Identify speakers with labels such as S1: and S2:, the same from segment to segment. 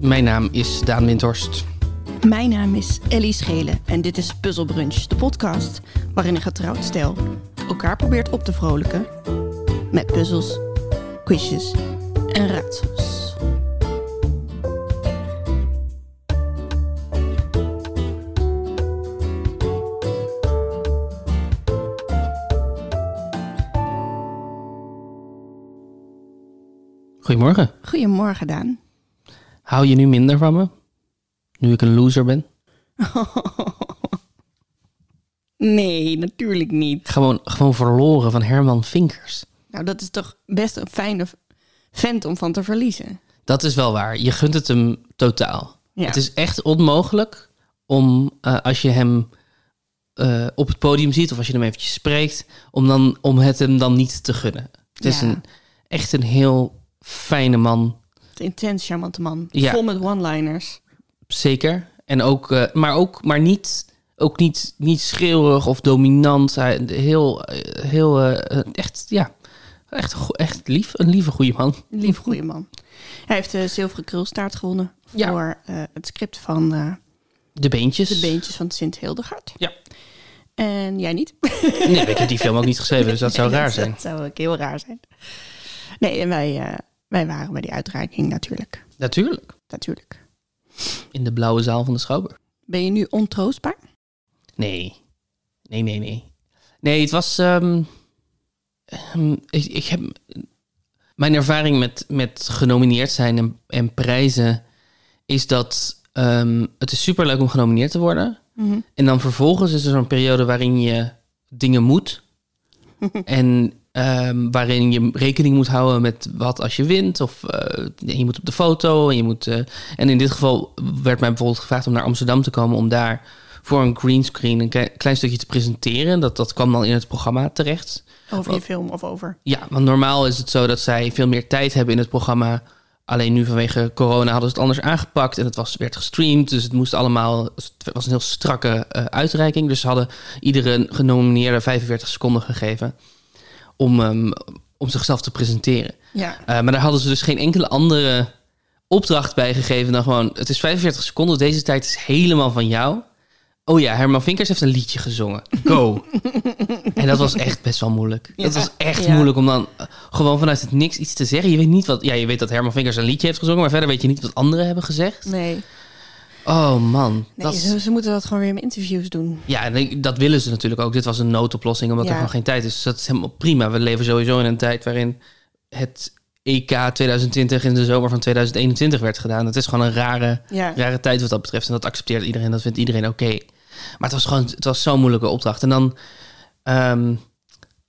S1: Mijn naam is Daan Windhorst.
S2: Mijn naam is Ellie Schelen en dit is Puzzle Brunch, de podcast waarin een getrouwd stel elkaar probeert op te vrolijken met puzzels, quizjes en raadsels.
S1: Goedemorgen.
S2: Goedemorgen Daan.
S1: Hou je nu minder van me? Nu ik een loser ben?
S2: Nee, natuurlijk niet.
S1: Gewoon, gewoon verloren van Herman Vinkers.
S2: Nou, dat is toch best een fijne vent om van te verliezen.
S1: Dat is wel waar. Je gunt het hem totaal.
S2: Ja.
S1: Het is echt onmogelijk om eh, als je hem eh, op het podium ziet of als je hem eventjes spreekt, om, dan, om het hem dan niet te gunnen. Het is
S2: Ja.
S1: een, echt een heel fijne man.
S2: Een intens charmante man,
S1: Ja.
S2: vol met one-liners.
S1: Zeker. En ook, eh, maar ook, maar niet, ook niet, niet schreeuwerig of dominant. Hij- heel, eh, heel, eh, eh, echt, ja, echt, go- echt lief. Een lieve goede man.
S2: Lief goede man. Hij heeft de zilveren krulstaart gewonnen
S1: Ja.
S2: voor eh, het script van eh,
S1: De beentjes.
S2: De Beentjes van Sint Hildegard.
S1: Ja.
S2: En jij niet?
S1: Nee, ik heb die film ook niet geschreven, dus dat zou
S2: Nee,
S1: raar zijn.
S2: Dat zou ook heel raar zijn. Nee, en wij, eh, wij waren bij die uitreiking natuurlijk.
S1: Natuurlijk.
S2: Natuurlijk.
S1: In de blauwe zaal van de Schouwburg.
S2: Ben je nu ontroostbaar?
S1: Nee. Nee, nee, nee. Nee, het was. ehm, ehm, ik, ik heb. Mijn ervaring met, met genomineerd zijn en, en prijzen is dat ehm, het is superleuk om genomineerd te worden. En dan vervolgens is er zo'n periode waarin je dingen moet. en ehm, waarin je rekening moet houden met wat als je wint. Of eh, je moet op de foto. En, je moet, eh, en in dit geval werd mij bijvoorbeeld gevraagd om naar Amsterdam te komen. Om daar voor een greenscreen een klein, klein stukje te presenteren. Dat, dat kwam dan in het programma terecht.
S2: Over je film of over?
S1: Ja, want normaal is het zo dat zij veel meer tijd hebben in het programma. Alleen nu vanwege corona hadden ze het anders aangepakt en het was, werd gestreamd. Dus het moest allemaal. Het was een heel strakke eh, uitreiking. Dus ze hadden iedere genomineerde 45 seconden gegeven om, ehm, om zichzelf te presenteren.
S2: Ja.
S1: Eh, maar daar hadden ze dus geen enkele andere opdracht bij gegeven dan gewoon... het is 45 seconden, deze tijd is helemaal van jou. Oh ja, Herman Vinkers heeft een liedje gezongen. Go! en dat was echt best wel moeilijk.
S2: Ja,
S1: dat was echt
S2: ja.
S1: moeilijk om dan eh, gewoon vanuit het niks iets te zeggen. Je weet niet wat... Ja, je weet dat Herman Vinkers een liedje heeft gezongen... maar verder weet je niet wat anderen hebben gezegd.
S2: Nee. nee
S1: Oh man. dat is-
S2: ze, ze moeten dat gewoon weer in interviews doen.
S1: ja, en ik- dat willen ze natuurlijk ook. Dit was een noodoplossing, omdat er
S2: Ja.
S1: gewoon geen tijd is. Dus dat is helemaal prima. We leven sowieso in een tijd waarin het E EK 2020 in de zomer van 2021 werd gedaan. Dat is gewoon een rare,
S2: Ja.
S1: rare tijd wat dat betreft. En dat accepteert iedereen. Dat vindt iedereen oké. Maar het was gewoon, het was zo'n moeilijke opdracht. En dan, ehm,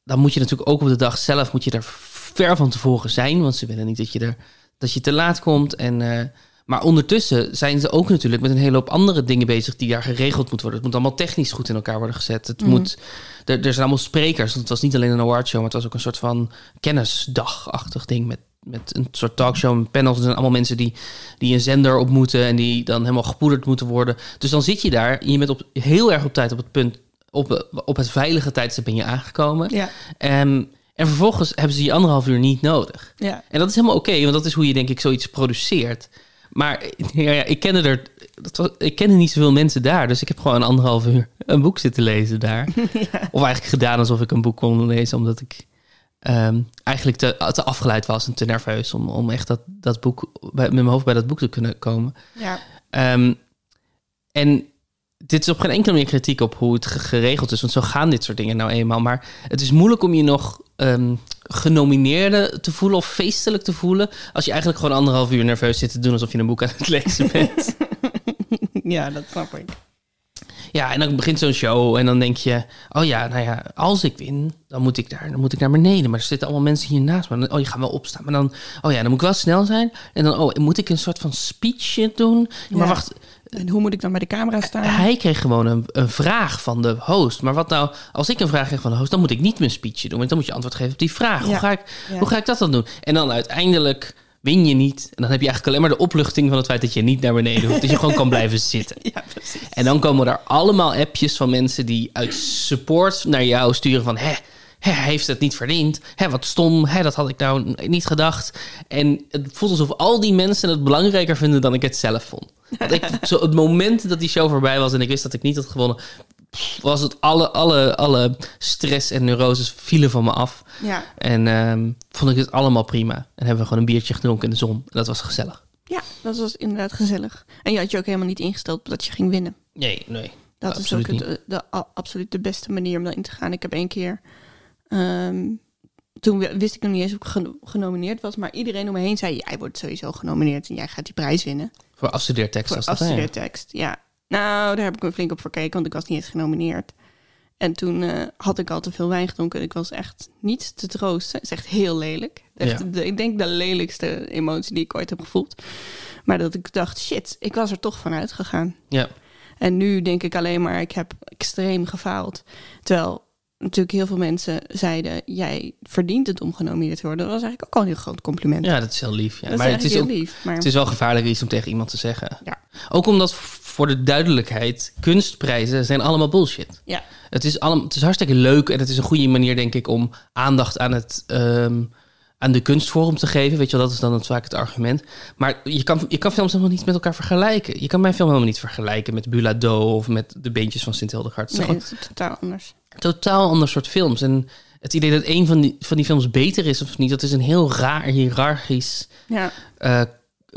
S1: dan moet je natuurlijk ook op de dag zelf, moet je er ver van tevoren zijn. Want ze willen niet dat je, er, dat je te laat komt. En, eh, maar ondertussen zijn ze ook natuurlijk met een hele hoop andere dingen bezig die daar geregeld moeten worden. Het moet allemaal technisch goed in elkaar worden gezet. Het moet, er, er zijn allemaal sprekers. Want het was niet alleen een awardshow, maar het was ook een soort van kennisdagachtig ding met met een soort talkshow, met panels. Er zijn allemaal mensen die, die een zender ontmoeten en die dan helemaal gepoederd moeten worden. Dus dan zit je daar en je bent op, heel erg op tijd op het punt, op, op het veilige tijdstip ben je aangekomen.
S2: Ja.
S1: Ehm, en vervolgens hebben ze die anderhalf uur niet nodig.
S2: Ja.
S1: En dat is helemaal oké, want dat is hoe je denk ik zoiets produceert. Maar ja, ja, ik kende er, dat was, ik kende niet zoveel mensen daar, dus ik heb gewoon anderhalf uur een boek zitten lezen daar. Of eigenlijk gedaan alsof ik een boek kon lezen, omdat ik ehm, eigenlijk te, te afgeleid was en te nerveus om, om echt dat, dat boek bij, met mijn hoofd bij dat boek te kunnen komen.
S2: Ja.
S1: Ehm, en dit is op geen enkele manier kritiek op hoe het ge- geregeld is. Want zo gaan dit soort dingen nou eenmaal. Maar het is moeilijk om je nog ehm genomineerde te voelen of feestelijk te voelen. Als je eigenlijk gewoon anderhalf uur nerveus zit te doen alsof je een boek aan het lezen bent.
S2: ja, dat snap ik.
S1: Ja, en dan begint zo'n show en dan denk je... oh ja, nou ja, als ik win, dan moet ik, daar, dan moet ik naar beneden. Maar er zitten allemaal mensen hier naast me. Dan- Oh, je gaat wel opstaan. Maar dan, oh ja, dan moet ik wel snel zijn. En dan, oh, moet ik een soort van speech shit doen? Maar
S2: Ja.
S1: wacht,
S2: En hoe moet ik dan bij de camera staan?
S1: hij kreeg gewoon een, een vraag van de host. Maar wat nou, als ik een vraag krijg van de host... dan moet ik niet mijn speechje doen, want dan moet je antwoord geven op die vraag. Hoe,
S2: Ja.
S1: ga ik,
S2: Ja.
S1: hoe ga ik dat dan doen? En dan uiteindelijk win je niet. En dan heb je eigenlijk alleen maar de opluchting van het feit... dat je niet naar beneden hoeft, dat je gewoon kan blijven zitten.
S2: Ja, precies.
S1: En dan komen er allemaal appjes van mensen die uit support naar jou sturen van... hè, hè, hij heeft het niet verdiend. Hè, wat stom, hè, dat had ik nou n- niet gedacht. En het voelt alsof al die mensen het belangrijker vinden dan ik het zelf vond. Want ik, zo, het moment dat die show voorbij was en ik wist dat ik niet had gewonnen, pff, was het alle, alle, alle stress en neuroses vielen van me af.
S2: Ja.
S1: En ehm, vond ik het allemaal prima. En hebben we gewoon een biertje gedronken in de zon. En dat was gezellig.
S2: ja, dat was inderdaad gezellig. En je had je ook helemaal niet ingesteld dat je ging winnen.
S1: Nee, nee.
S2: Dat
S1: Absoluut
S2: is ook het, eh, de, a- absoluut de beste manier om daarin te gaan. Ik heb één keer... ehm, toen wi- wist ik nog niet eens of ik geno- genomineerd was. Maar iedereen om me heen zei... Jij wordt sowieso genomineerd en jij gaat die prijs winnen.
S1: Voor afstudeertekst
S2: Voor
S1: was dat. hè?
S2: afstudeertekst, ja. Nou, daar heb ik me flink op verkeken, want ik was niet eens genomineerd. En toen eh, had ik al te veel wijn gedronken. en Ik was echt niet te troosten. Het is echt heel lelijk. Echt,
S1: Ja.
S2: de- ik denk de lelijkste emotie die ik ooit heb gevoeld. Maar dat ik dacht, shit, ik was er toch van uitgegaan.
S1: Ja.
S2: En nu denk ik alleen maar, ik heb extreem gefaald. Terwijl natuurlijk heel veel mensen zeiden, jij verdient het om genomineerd te worden. Dat was eigenlijk ook al een heel groot compliment.
S1: ja, dat is heel lief. Ja.
S2: dat
S1: maar
S2: is
S1: het is
S2: eigenlijk
S1: ook
S2: heel lief. Maar...
S1: Het is wel gevaarlijk iets om tegen iemand te zeggen.
S2: Ja.
S1: Ook omdat, v- voor de duidelijkheid, kunstprijzen zijn allemaal bullshit.
S2: Ja.
S1: Het is, allemaal, het is hartstikke leuk en het is een goede manier, denk ik, om aandacht aan, het, ehm, aan de kunstvorm te geven. Weet je wel, dat is dan het- vaak het argument. Maar je kan, je kan films helemaal niet met elkaar vergelijken. Je kan mijn film helemaal niet vergelijken met Bulado of met De Beentjes van Sint Hildegard. Het is
S2: Nee,
S1: gewoon
S2: het is totaal anders.
S1: totaal ander soort films. En het idee dat een van die, van die films beter is of niet, dat is een heel raar, hiërarchisch
S2: Ja.
S1: eh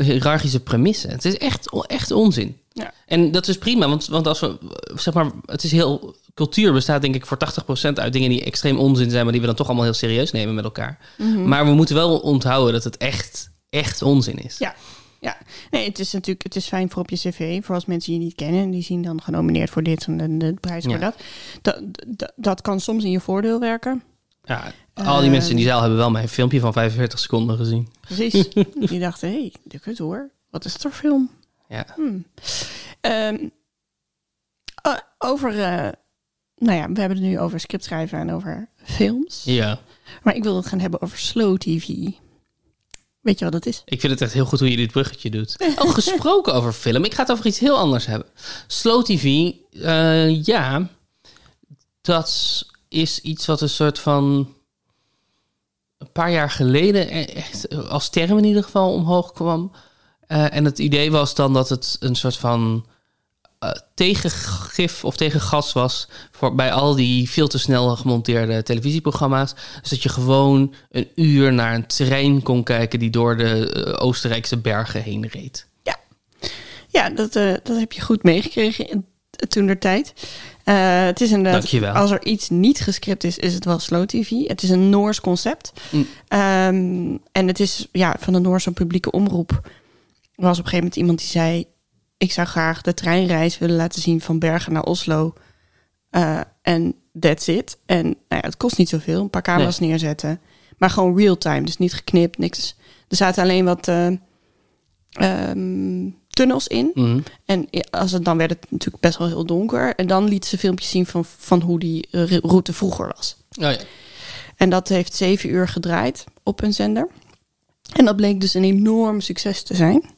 S1: hiërarchische premissen. Het is echt, echt onzin.
S2: Ja.
S1: En dat is prima, want, want als we, zeg maar, het is heel, cultuur bestaat denk ik voor 80% uit dingen die extreem onzin zijn, maar die we dan toch allemaal heel serieus nemen met elkaar. Maar we moeten wel onthouden dat het echt, echt onzin is.
S2: Ja, ja. Nee, het is natuurlijk het is fijn voor op je cv. Voor als mensen je niet kennen. en Die zien dan genomineerd voor dit en de, de prijs voor
S1: Ja.
S2: dat. Dat, dat. dat kan soms in je voordeel werken.
S1: Ja, al die mensen in die zaal hebben wel mijn filmpje van 45 seconden gezien.
S2: Precies. die dachten, hé, hey, de kut hoor. Wat is het voor film?
S1: Ja.
S2: Hmm. Ehm, o- over, eh, nou ja, we hebben het nu over scriptschrijven en over films.
S1: ja,
S2: Maar ik wil het gaan hebben over slow tv. Weet je wat dat is?
S1: ik vind het echt heel goed hoe je dit bruggetje doet. Oh, gesproken over film, ik ga het over iets heel anders hebben. Slow TV, eh, ja, dat is iets wat een soort van een paar jaar geleden e- echt als term in ieder geval omhoog kwam. Eh, en het idee was dan dat het een soort van eh, tegengif of tegengas was voor, bij al die veel te snel gemonteerde televisieprogramma's. Dus dat je gewoon een uur naar een trein kon kijken die door de eh, Oostenrijkse bergen heen reed.
S2: Ja, dat, eh, dat heb je goed meegekregen toen der tijd. Eh, het is inderdaad,
S1: Dankjewel.
S2: als er iets niet gescript is, is het wel slow tv. Het is een Noors concept.
S1: Mm.
S2: Ehm, en het is ja, van de Noorse publieke omroep. Er was op een gegeven moment iemand die zei... ik zou graag de treinreis willen laten zien van Bergen naar Oslo. Eh, En that's it. En nou ja, het kost niet zoveel, een paar camera's neerzetten. Maar gewoon real-time, dus niet geknipt, niks. Er zaten alleen wat eh, ehm, tunnels in.
S1: Mhm.
S2: En i- als het, dan werd het natuurlijk best wel heel donker. En dan liet ze filmpjes zien van, van hoe die eh, ri- route vroeger was.
S1: Oh ja.
S2: En dat heeft zeven uur gedraaid op een zender. En dat bleek dus een enorm succes te zijn.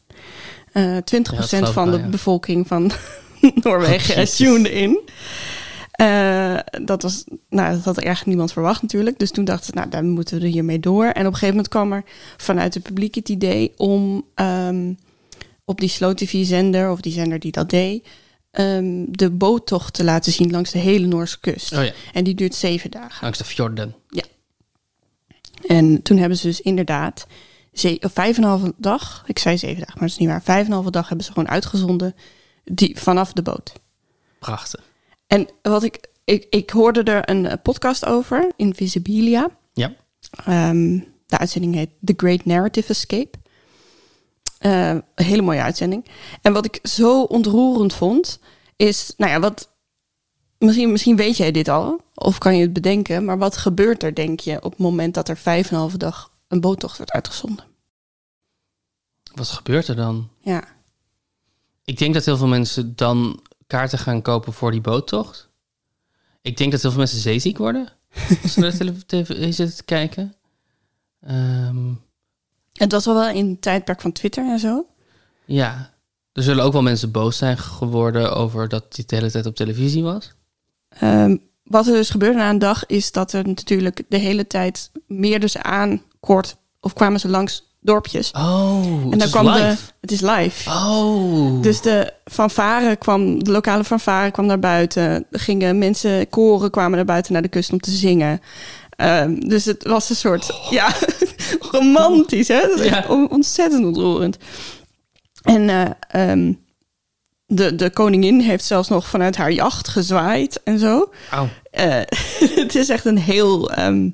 S2: Eh 20%
S1: Ja, dat geloof ik
S2: van
S1: wel,
S2: de
S1: ja. Oh,
S2: bevolking van Noorwegen
S1: Jezus.
S2: tuned in. Eh, dat, was, nou, dat had echt niemand verwacht natuurlijk. Dus toen dachten ze, nou, daar moeten we hiermee door. En op een gegeven moment kwam er vanuit het publiek het idee om ehm, op die Slow TV-zender, of die zender die dat deed, ehm, de boottocht te laten zien langs de hele Noorse kust.
S1: Oh ja.
S2: En die duurt zeven dagen.
S1: Langs de fjorden.
S2: En toen hebben ze dus inderdaad ze- of vijf en een halve dag, ik zei zeven dagen, maar dat is niet waar. Vijf en een halve dag hebben ze gewoon uitgezonden die, vanaf de boot.
S1: Prachtig.
S2: En wat ik, ik, ik hoorde er een eh, podcast over, Invisibilia.
S1: Ja.
S2: Ehm, de uitzending heet The Great Narrative Escape. Eh, een hele mooie uitzending. En wat ik zo ontroerend vond, is, nou ja, wat. Misschien, misschien weet jij dit al, of kan je het bedenken, maar wat gebeurt er, denk je, op het moment dat er vijf en een halve dag een boottocht wordt uitgezonden?
S1: Wat gebeurt er dan?
S2: Ja,
S1: Ik denk dat heel veel mensen dan kaarten gaan kopen voor die boottocht. Ik denk dat heel veel mensen zeeziek worden. Als ze naar de tele- tv zitten te kijken. Ehm,
S2: het was al wel in het tijdperk van Twitter en zo.
S1: ja. Er zullen ook wel mensen boos zijn geworden over dat die de hele tijd op televisie was.
S2: Ehm, wat er dus gebeurde na een dag is dat er natuurlijk de hele tijd meerders aankort of kwamen ze langs dorpjes.
S1: Oh,
S2: en
S1: het
S2: dan
S1: is
S2: kwam
S1: live.
S2: de. Het is live.
S1: Oh.
S2: Dus de fanfare kwam, de lokale fanfare kwam naar buiten. Er gingen mensen, koren kwamen naar buiten naar de kust om te zingen. Ehm, dus het was een soort, ja, romantisch, hè? Dat is echt
S1: Oh. Ja.
S2: on- ontzettend ontroerend. En eh, ehm, de, de koningin heeft zelfs nog vanuit haar jacht gezwaaid en zo.
S1: Au.
S2: Eh, het is echt een heel ehm,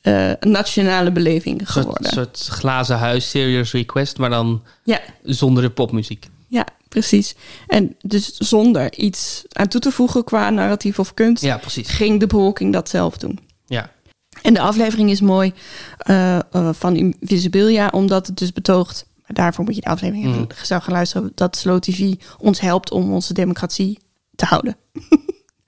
S2: eh, nationale beleving
S1: Een soort,
S2: geworden.
S1: soort glazen huis, Serious Request, maar dan
S2: Ja,
S1: zonder de popmuziek.
S2: Ja, precies. En dus zonder iets aan toe te voegen qua narratief of kunst,
S1: Ja, precies.
S2: ging de bevolking dat zelf doen.
S1: Ja.
S2: En de aflevering is mooi eh, eh, van Invisibilia, omdat het dus betoogt. Maar daarvoor moet je de aflevering
S1: Mm.
S2: even gaan luisteren. Dat Slow TV ons helpt om onze democratie te houden.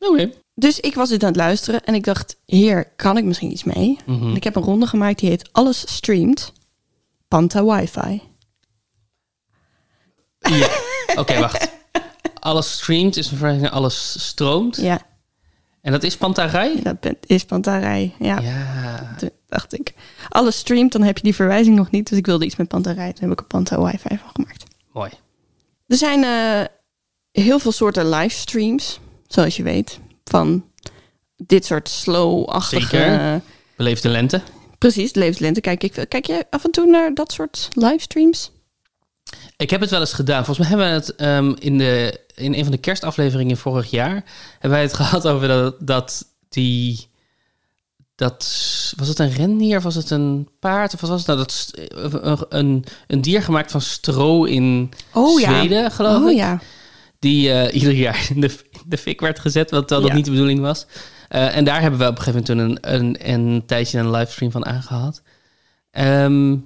S1: Oké.
S2: Dus ik was dit aan het luisteren en ik dacht, hier kan ik misschien iets mee.
S1: Mhm.
S2: En ik heb een ronde gemaakt die heet Alles Streamt, Panta Wi-Fi.
S1: Ja. Oké, wacht. Alles streamt is een vergelijking naar alles stroomt.
S2: Ja,
S1: En dat is Pantarij?
S2: dat ben- is Pantarij. ja.
S1: Ja.
S2: Toen dacht ik, alles streamt, dan heb je die verwijzing nog niet. Dus ik wilde iets met Panta rijden. Toen heb ik een Panta wifi van gemaakt.
S1: Mooi.
S2: Er zijn eh, heel veel soorten livestreams, zoals je weet. Van dit soort slow-achtige...
S1: Zeker. Beleefde lente.
S2: precies, levenslente. Kijk, ik, kijk jij af en toe naar dat soort livestreams?
S1: Ik heb het wel eens gedaan. Volgens mij hebben we het ehm, in, de, in een van de kerstafleveringen vorig jaar... hebben wij het gehad over dat, dat die... Dat, was het een rendier of was het een paard? Of wat was het nou? Dat, st- een, een, een dier gemaakt van stro in
S2: Oh ja.
S1: Zweden, geloof
S2: Oh
S1: ik.
S2: ja.
S1: die eh, ieder jaar in de, in de fik werd gezet, wat wel dat
S2: Ja.
S1: niet de bedoeling was. Eh, en daar hebben we op een gegeven moment toen een, een, een tijdje een livestream van aangehad. Ehm,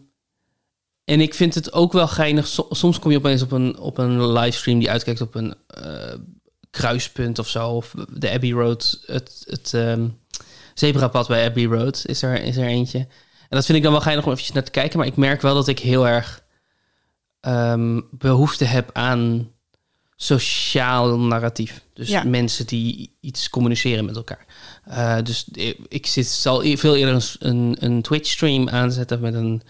S1: en ik vind het ook wel geinig. so- soms kom je opeens op een, op een livestream die uitkijkt op een eh, kruispunt of zo. Of de Abbey Road, het, het ehm, zebrapad bij Abbey Road is er, is er eentje. En dat vind ik dan wel geinig om eventjes naar te kijken. Maar ik merk wel dat ik heel erg ehm, behoefte heb aan sociaal narratief. Dus
S2: Ja.
S1: mensen die iets communiceren met elkaar. Eh, dus ik, ik zit, zal e- veel eerder een, s- een, een Twitch-stream aanzetten met een,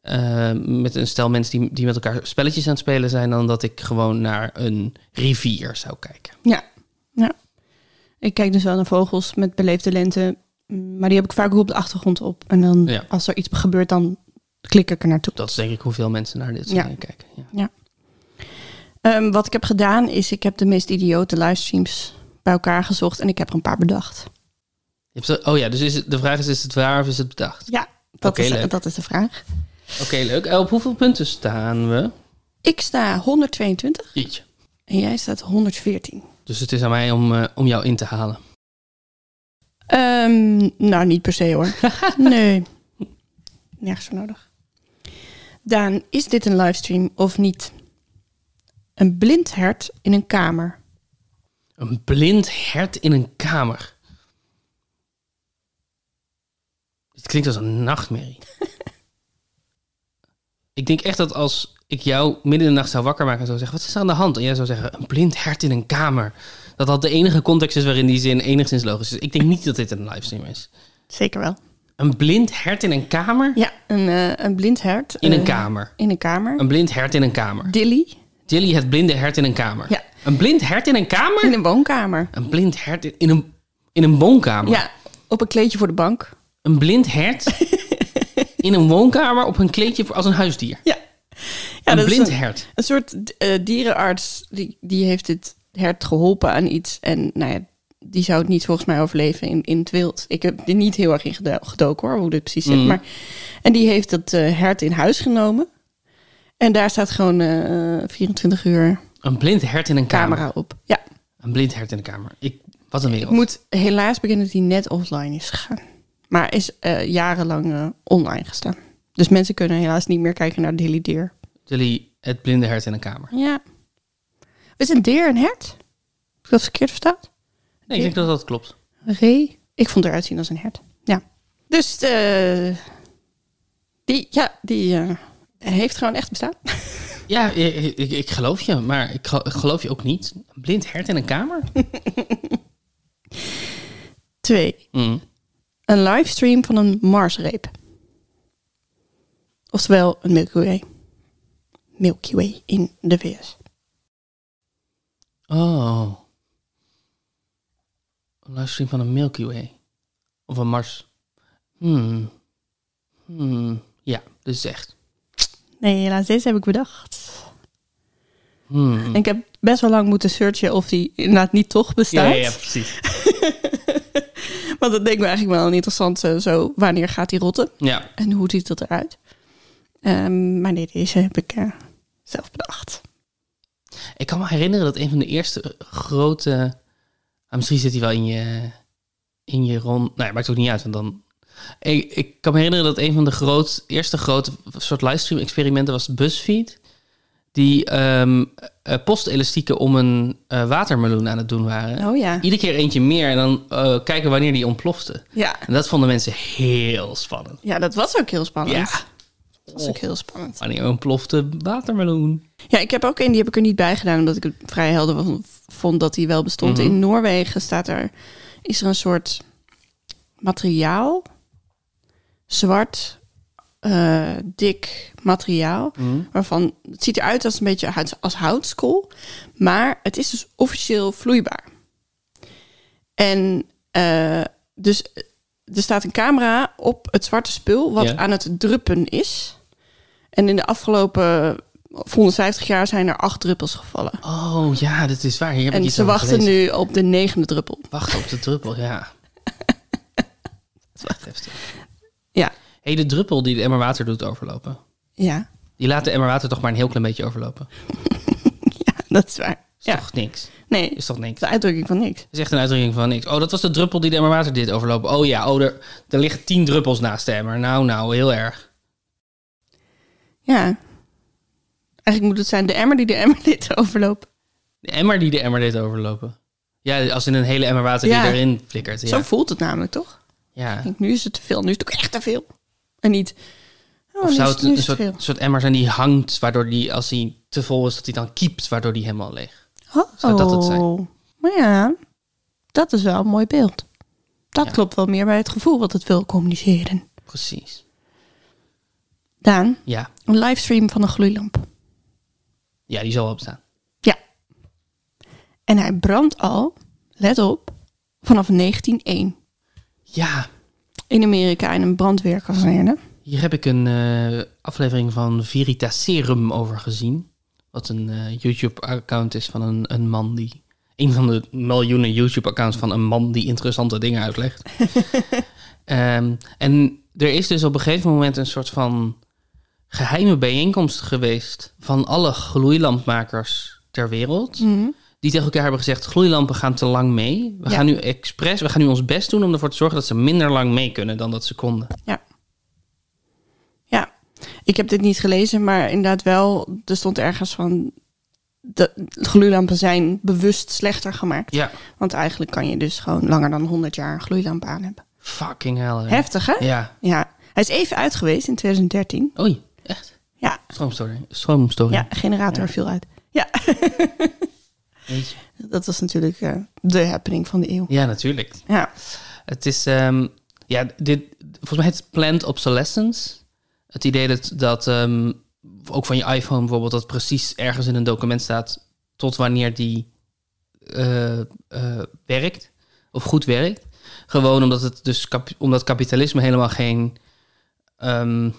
S1: eh, met een stel mensen die, die met elkaar spelletjes aan het spelen zijn, dan dat ik gewoon naar een rivier zou kijken.
S2: Ja. ja. Ik kijk dus wel naar vogels met beleefde lente. mm, Maar die heb ik vaak ook op de achtergrond op. En dan
S1: Ja.
S2: als er iets gebeurt, dan klik ik er naartoe.
S1: Dat is denk ik hoeveel mensen naar dit soort
S2: Ja.
S1: dingen kijken. Ja.
S2: Ehm, wat ik heb gedaan is, ik heb de meest idiote livestreams bij elkaar gezocht en ik heb er een paar bedacht.
S1: Je hebt zo- oh ja, dus is het, de vraag is, is het waar of is het bedacht?
S2: Ja, dat,
S1: Oké,
S2: is,
S1: leuk.
S2: dat is de vraag.
S1: Oké, leuk. Eh, op hoeveel punten staan we?
S2: Ik sta 122
S1: Jeetje.
S2: en jij staat 114.
S1: Dus het is aan mij om, eh, om jou in te halen.
S2: Ehm, nou, niet per se hoor. nee, nergens voor nodig. Daan, is dit een livestream of niet? Een blind hert in een kamer.
S1: Een blind hert in een kamer. Dit klinkt als een nachtmerrie. ik denk echt dat als ik jou midden in de nacht zou wakker maken en zou zeggen: Wat is er aan de hand? En jij zou zeggen: Een blind hert in een kamer. Dat dat de enige context is waarin die zin enigszins logisch is. Ik denk niet dat dit een livestream is.
S2: Zeker wel.
S1: Een blind hert in een kamer?
S2: Ja, een, eh, een blind hert.
S1: In een
S2: eh,
S1: kamer.
S2: In een kamer.
S1: Een blind hert in een kamer.
S2: Dilly
S1: Tilly, het blinde hert in een kamer.
S2: Ja.
S1: Een blind hert in een kamer?
S2: in een woonkamer.
S1: Een blind hert in, in een, in een woonkamer.
S2: Ja, op een kleedje voor de bank.
S1: Een blind hert in een woonkamer op een kleedje voor- als een huisdier.
S2: Ja. ja
S1: een
S2: dat is
S1: blind
S2: een,
S1: hert.
S2: een soort eh, dierenarts, die, die heeft dit hert geholpen aan iets. En nou ja, die zou het niet volgens mij overleven in, in het wild. Ik heb er niet heel erg in gedo- gedoken hoor, hoe dit precies zit. Maar, en die heeft dat eh, hert in huis genomen. En daar staat gewoon eh, 24 uur
S1: Een blind hert in een kamer. Oh.
S2: camera op. Ja,
S1: Een blind hert in een kamer. Ik, wat een
S2: ik
S1: wereld.
S2: moet helaas beginnen dat die net offline is gegaan. Maar is eh, jarenlang eh, online gestaan. Dus mensen kunnen helaas niet meer kijken naar Dilly Deer.
S1: Tilly, het blinde hert in een kamer.
S2: Ja. Is een deer een hert? Heb ik dat verkeerd verstaan?
S1: Nee, ik denk dat dat klopt.
S2: Ree? Ik vond eruit zien als een hert. Ja. Dus eh, die, ja, die eh, heeft gewoon echt bestaan.
S1: Ja, ik, ik, ik geloof je, maar ik, gel- ik geloof je ook niet. Een blind hert in een kamer?
S2: 2.
S1: Mm.
S2: Een livestream van een Marsreep. Oftewel een Milky Way. Milky Way in de VS.
S1: Oh. Een livestream van een Milky Way. Of een Mars. Hmm. Hmm. Ja, dus echt.
S2: Nee, helaas, deze heb ik bedacht.
S1: Hmm.
S2: En ik heb best wel lang moeten searchen of die inderdaad niet toch
S1: Ja, ja,
S2: bestaat.
S1: ja, precies.
S2: Want dat leek me eigenlijk wel een interessant eh, zo, wanneer gaat die rotten?
S1: Ja.
S2: En hoe ziet dat eruit? Ehm, maar nee, deze heb ik eh, zelf bedacht.
S1: Ik kan me herinneren dat een van de eerste grote... Ah, misschien zit hij wel in je, in je rond... Nee, maakt ook niet uit, want dan... Ik, ik kan me herinneren dat een van de groot, eerste grote soort livestream-experimenten was BuzzFeed. Die ehm eh, postelastieken om een eh, watermeloen aan het doen waren.
S2: Oh ja.
S1: Iedere keer eentje meer en dan eh, kijken wanneer die ontplofte.
S2: ja.
S1: En dat vonden mensen heel spannend.
S2: Ja, dat was ook heel spannend.
S1: Ja.
S2: Dat was ook heel spannend.
S1: Wanneer ontplofte watermeloen?
S2: Ja, ik heb ook een, die heb ik er niet bij gedaan, omdat ik het vrij helder was- vond dat die wel bestond. In Noorwegen staat er, is er een soort materiaal, zwart, eh, dik materiaal,
S1: Mm.
S2: waarvan het ziet eruit als een beetje huid- als houtskool, maar het is dus officieel vloeibaar. En eh, dus eh, er staat een camera op het zwarte spul wat
S1: Ja.
S2: aan het druppen is. En in de afgelopen 150 jaar zijn er acht druppels gevallen.
S1: Oh ja, dat is waar. Hier heb ik
S2: en
S1: iets
S2: ze
S1: over
S2: wachten
S1: gelezen.
S2: nu op de negende druppel.
S1: Wacht op de druppel, ja. Dat is echt heftig.
S2: Ja,
S1: hey, de druppel die de emmer water doet overlopen.
S2: ja,
S1: Die laat de emmer water toch maar een heel klein beetje overlopen.
S2: ja dat is waar.
S1: Is
S2: Ja.
S1: toch niks?
S2: Nee, dat
S1: Is toch niks?
S2: is de uitdrukking van niks.
S1: Dat is echt een uitdrukking van niks. Oh, dat was de druppel die de emmer water deed overlopen. Oh ja, oh, er, er liggen tien druppels naast de emmer. Nou, nou, heel erg.
S2: Ja. Eigenlijk moet het zijn de emmer die de emmer deed overlopen.
S1: De emmer die de emmer deed overlopen. Ja, als in een hele emmer water
S2: Ja.
S1: die erin flikkert. Ja.
S2: Zo Oh, voelt het namelijk, toch?
S1: ja.
S2: Ik denk, nu is het te veel. Nu is het ook echt te veel. En niet... Oh,
S1: Of
S2: nu
S1: zou
S2: is
S1: het
S2: het, nu
S1: een
S2: is het te
S1: soort, soort emmer zijn die hangt, waardoor die, als hij te vol is, dat hij dan kiept, waardoor die helemaal leeg.
S2: veel. Oh,
S1: zou dat het zijn?
S2: Maar ja, dat is wel een mooi beeld. Dat
S1: Ja.
S2: klopt wel meer bij het gevoel wat het wil communiceren.
S1: Precies.
S2: Daan,
S1: Ja,
S2: een livestream van een gloeilamp.
S1: ja die zal wel bestaan.
S2: Ja. En hij brandt al, let op, vanaf 1901.
S1: Ja,
S2: In Amerika in een brandweerkazerne.
S1: hier heb ik een eh, aflevering van Veritaserum over gezien. Wat een eh, YouTube-account is van een, een man die... Een van de miljoenen YouTube-accounts van een man die interessante dingen uitlegt. Ehm, en er is dus op een gegeven moment een soort van geheime bijeenkomst geweest... van alle gloeilampmakers ter wereld. die tegen elkaar hebben gezegd: gloeilampen gaan te lang mee. We
S2: Ja.
S1: gaan nu expres, we gaan nu ons best doen om ervoor te zorgen dat ze minder lang mee kunnen dan dat ze konden.
S2: Ja. Ja. Ik heb dit niet gelezen, maar inderdaad wel. Er stond ergens van. De gloeilampen zijn bewust slechter gemaakt.
S1: Ja,
S2: Want eigenlijk kan je dus gewoon langer dan 100 jaar een gloeilamp aan hebben.
S1: fucking hell. hè.
S2: Heftig, hè?
S1: Ja.
S2: Ja. Hij is even uit geweest in 2013.
S1: Oei, echt.
S2: Ja.
S1: Stroomstoring. Stroomstoring.
S2: Ja, generator viel uit. Ja,
S1: Jeetje.
S2: dat was natuurlijk eh, de happening van de eeuw.
S1: Ja, natuurlijk.
S2: Ja.
S1: Het is, ehm, ja, dit, volgens mij heet het Planned Obsolescence. Het idee dat, dat ehm, ook van je iPhone bijvoorbeeld, dat precies ergens in een document staat tot wanneer die eh, eh, werkt of goed werkt. Gewoon omdat het dus kap- omdat kapitalisme helemaal geen. ehm,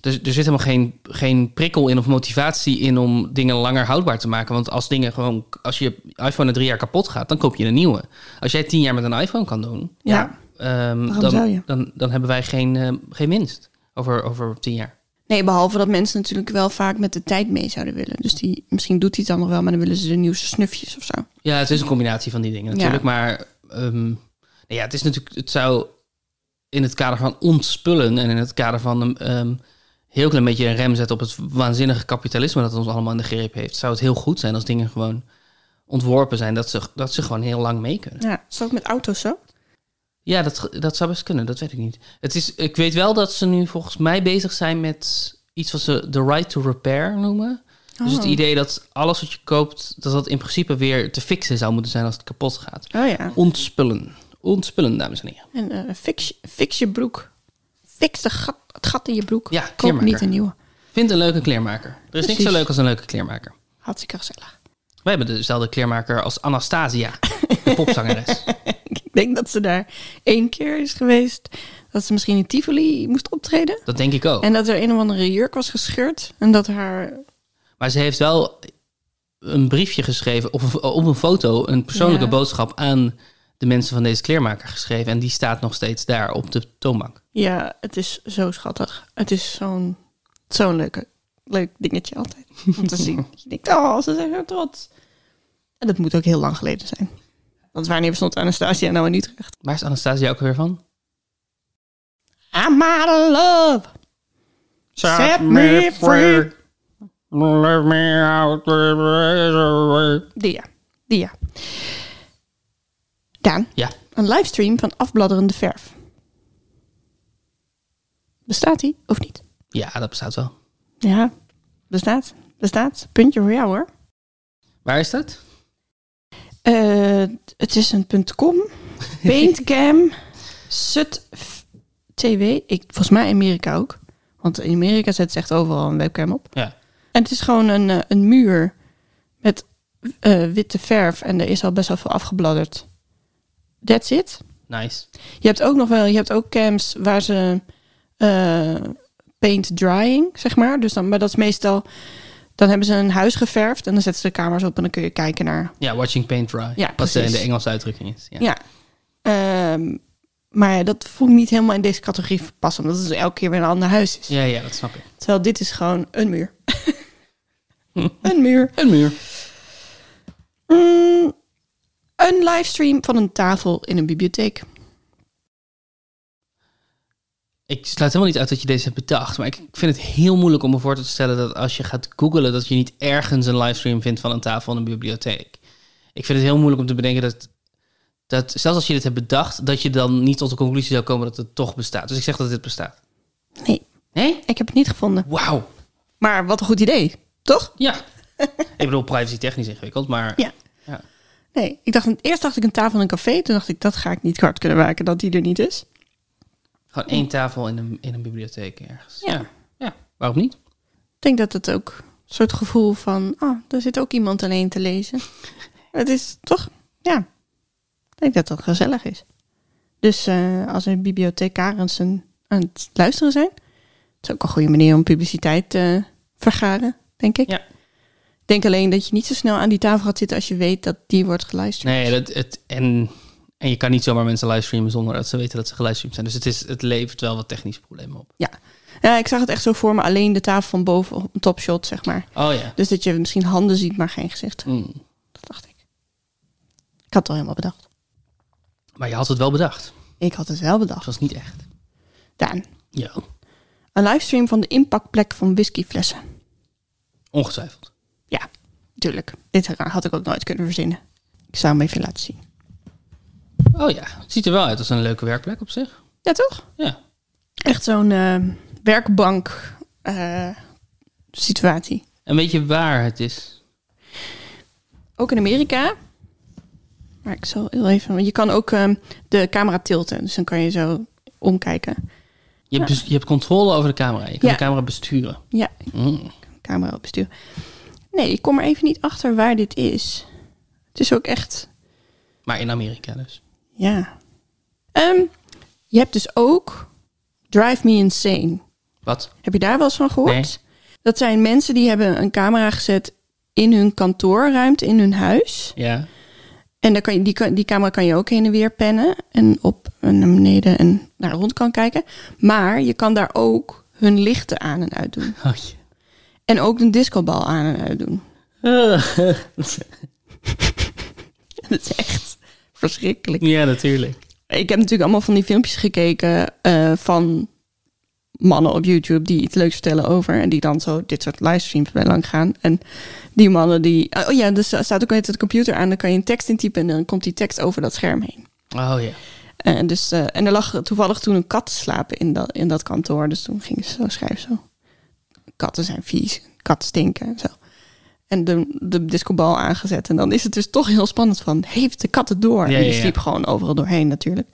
S1: dus er zit helemaal geen, geen prikkel in of motivatie in om dingen langer houdbaar te maken. Want als dingen gewoon, als je iPhone na drie jaar kapot gaat, dan koop je een nieuwe. Als jij tien jaar met een iPhone kan doen,
S2: Ja.
S1: ehm,
S2: Waarom
S1: dan,
S2: zou je?
S1: Dan, dan hebben wij geen, ehm, geen winst over, over tien jaar.
S2: Nee, behalve dat mensen natuurlijk wel vaak met de tijd mee zouden willen. Dus die, misschien doet hij het dan nog wel, maar dan willen ze de nieuwste snufjes of zo.
S1: Ja, het is een combinatie van die dingen natuurlijk.
S2: Ja.
S1: Maar ehm, nou ja, het is natuurlijk, het zou in het kader van ontspullen en in het kader van een ehm, heel klein beetje een rem zetten op het waanzinnige kapitalisme dat ons allemaal in de greep heeft, zou het heel goed zijn als dingen gewoon ontworpen zijn dat ze, dat ze gewoon heel lang mee kunnen.
S2: Ja, is dat ook met auto's zo?
S1: Ja, dat, dat zou best kunnen, dat weet ik niet. Het is, ik weet wel dat ze nu volgens mij bezig zijn met iets wat ze de right to repair noemen. Dus het
S2: Oh.
S1: idee dat alles wat je koopt, dat dat in principe weer te fixen zou moeten zijn als het kapot gaat.
S2: Oh ja.
S1: Ontspullen. ontspullen, dames en heren.
S2: En eh, fix, fix je broek. Fix de gat, het gat in je broek.
S1: Ja,
S2: Koop
S1: kleermaker.
S2: niet een nieuwe.
S1: Vind een leuke kleermaker. Er is niks
S2: Precies.
S1: zo leuk als een leuke kleermaker.
S2: Hartstikke gezellig.
S1: Wij hebben dezelfde kleermaker als Anastasia, de popzangeres.
S2: Ik denk dat ze daar één keer is geweest. Dat ze misschien in Tivoli moest optreden.
S1: Dat denk ik ook.
S2: En dat er een of andere jurk was gescheurd. En dat haar...
S1: Maar ze heeft wel een briefje geschreven, of op een foto, een persoonlijke
S2: Ja.
S1: boodschap aan de mensen van deze kleermaker geschreven. En die staat nog steeds daar op de toonbank.
S2: Ja, het is zo schattig. Het is zo'n zo'n leuke, leuk dingetje altijd. Om te zien. Je denkt, oh, ze zijn zo trots. En dat moet ook heel lang geleden zijn. Want wanneer bestond Anastasia nou in Utrecht?
S1: Waar is Anastasia ook weer van?
S2: I'm out of love. Set me free.
S1: Let me out
S2: Die ja. Die ja. Daan,
S1: Ja,
S2: een livestream van Afbladderende Verf. Bestaat die of niet?
S1: ja, dat bestaat wel.
S2: Ja, bestaat. Bestaat. Puntje voor jou hoor.
S1: Waar is dat?
S2: Eh, het is een .com, Paintcam, Sut TV. Ik, volgens mij Amerika ook. Want in Amerika zet ze echt overal een webcam op.
S1: Ja.
S2: En het is gewoon een, eh, een muur met eh, witte verf. En er is al best wel veel afgebladderd. That's it.
S1: Nice.
S2: Je hebt ook nog wel, je hebt ook camps waar ze eh, paint drying, zeg maar. Dus dan, maar dat is meestal, dan hebben ze een huis geverfd en dan zetten ze de kamers op en dan kun je kijken naar
S1: Ja, watching paint dry.
S2: Ja,
S1: Wat eh,
S2: precies.
S1: de Engelse uitdrukking is. Ja.
S2: Ja. Ehm, maar ja, dat voel ik niet helemaal in deze categorie passen, omdat het dus elke keer weer een ander huis is.
S1: Ja, ja, dat snap ik.
S2: Terwijl dit is gewoon een muur. een muur.
S1: Een muur.
S2: Mm, een livestream van een tafel in een bibliotheek.
S1: Ik sluit helemaal niet uit dat je deze hebt bedacht. Maar ik vind het heel moeilijk om me voor te stellen dat als je gaat googlen, dat je niet ergens een livestream vindt van een tafel in een bibliotheek. Ik vind het heel moeilijk om te bedenken dat, dat zelfs als je dit hebt bedacht, dat je dan niet tot de conclusie zou komen dat het toch bestaat. Dus ik zeg dat dit bestaat.
S2: Nee,
S1: Nee?
S2: ik heb het niet gevonden.
S1: Wauw.
S2: Maar wat een goed idee, toch?
S1: Ja. ik bedoel, privacy technisch ingewikkeld, maar
S2: Ja.
S1: Ja.
S2: Nee, ik dacht, eerst dacht ik een tafel in een café. Toen dacht ik, dat ga ik niet hard kunnen maken dat die er niet is.
S1: gewoon één tafel in een, in een bibliotheek ergens.
S2: Ja.
S1: ja. Ja. Waarom niet?
S2: Ik denk dat het ook een soort gevoel van, ah, daar zit ook iemand alleen te lezen. Het is toch, ja, ik denk dat dat gezellig is. Dus eh, als er bibliothecarens een, aan het luisteren zijn, het is ook een goede manier om publiciteit te vergaren, denk ik.
S1: Ja.
S2: Ik denk alleen dat je niet zo snel aan die tafel gaat zitten als je weet dat die wordt geluisterd.
S1: Nee, dat, het, en, en je kan niet zomaar mensen livestreamen zonder dat ze weten dat ze gelivestreamd zijn. Dus het, is, het levert wel wat technische problemen op.
S2: Ja. ja, ik zag het echt zo voor me, alleen de tafel van boven op een topshot, zeg maar.
S1: Oh ja.
S2: Dus dat je misschien handen ziet, maar geen gezicht.
S1: Mm.
S2: Dat dacht ik. Ik had het al helemaal bedacht.
S1: Maar je had het wel bedacht.
S2: Ik had het wel
S1: Het
S2: bedacht.
S1: was niet echt.
S2: Daan,
S1: Ja,
S2: een livestream van de inpakplek van whiskyflessen.
S1: ongetwijfeld.
S2: Ja, natuurlijk. Dit had ik ook nooit kunnen verzinnen. Ik zou hem even laten zien.
S1: Oh ja, het ziet er wel uit als een leuke werkplek op zich.
S2: Ja, toch?
S1: Ja.
S2: Echt zo'n eh, werkbank eh, situatie.
S1: En weet je waar het is?
S2: Ook in Amerika. Maar ik zal heel even... want Je kan ook eh, de camera tilten. Dus dan kan je zo omkijken.
S1: Je, hebt, bes- je hebt controle over de camera. Je kan
S2: Ja.
S1: de camera besturen.
S2: Ja,
S1: Mm.
S2: camera op stuur. Nee, ik kom er even niet achter waar dit is. Het is ook echt
S1: Maar in Amerika dus.
S2: Ja. Ehm, je hebt dus ook Drive Me Insane.
S1: Wat?
S2: Heb je daar wel eens van gehoord? Dat zijn mensen die hebben een camera gezet in hun kantoorruimte, in hun huis.
S1: Ja.
S2: En daar kan je, die, kan- die camera kan je ook heen en weer pennen. En op en naar beneden en naar rond kan kijken. Maar je kan daar ook hun lichten aan en uit doen.
S1: Oh, je.
S2: En ook een discobal aan en uit doen. Dat is echt verschrikkelijk.
S1: ja, natuurlijk.
S2: Ik heb natuurlijk allemaal van die filmpjes gekeken eh, van mannen op YouTube die iets leuks vertellen over. En die dan zo dit soort livestreams bij lang gaan. En die mannen die... Oh ja, dus er staat ook altijd de computer aan. Dan kan je een tekst intypen en dan komt die tekst over dat scherm heen.
S1: Oh ja.
S2: En, dus, eh, en er lag toevallig toen een kat te slapen in dat, in dat kantoor. Dus toen ging ze zo schrijven zo. Katten zijn vies. Katten stinken en zo. en de, de discobal aangezet. En dan is het dus toch heel spannend van, heeft de kat het door?
S1: Ja,
S2: en die
S1: ja, ja.
S2: sliep gewoon overal doorheen natuurlijk.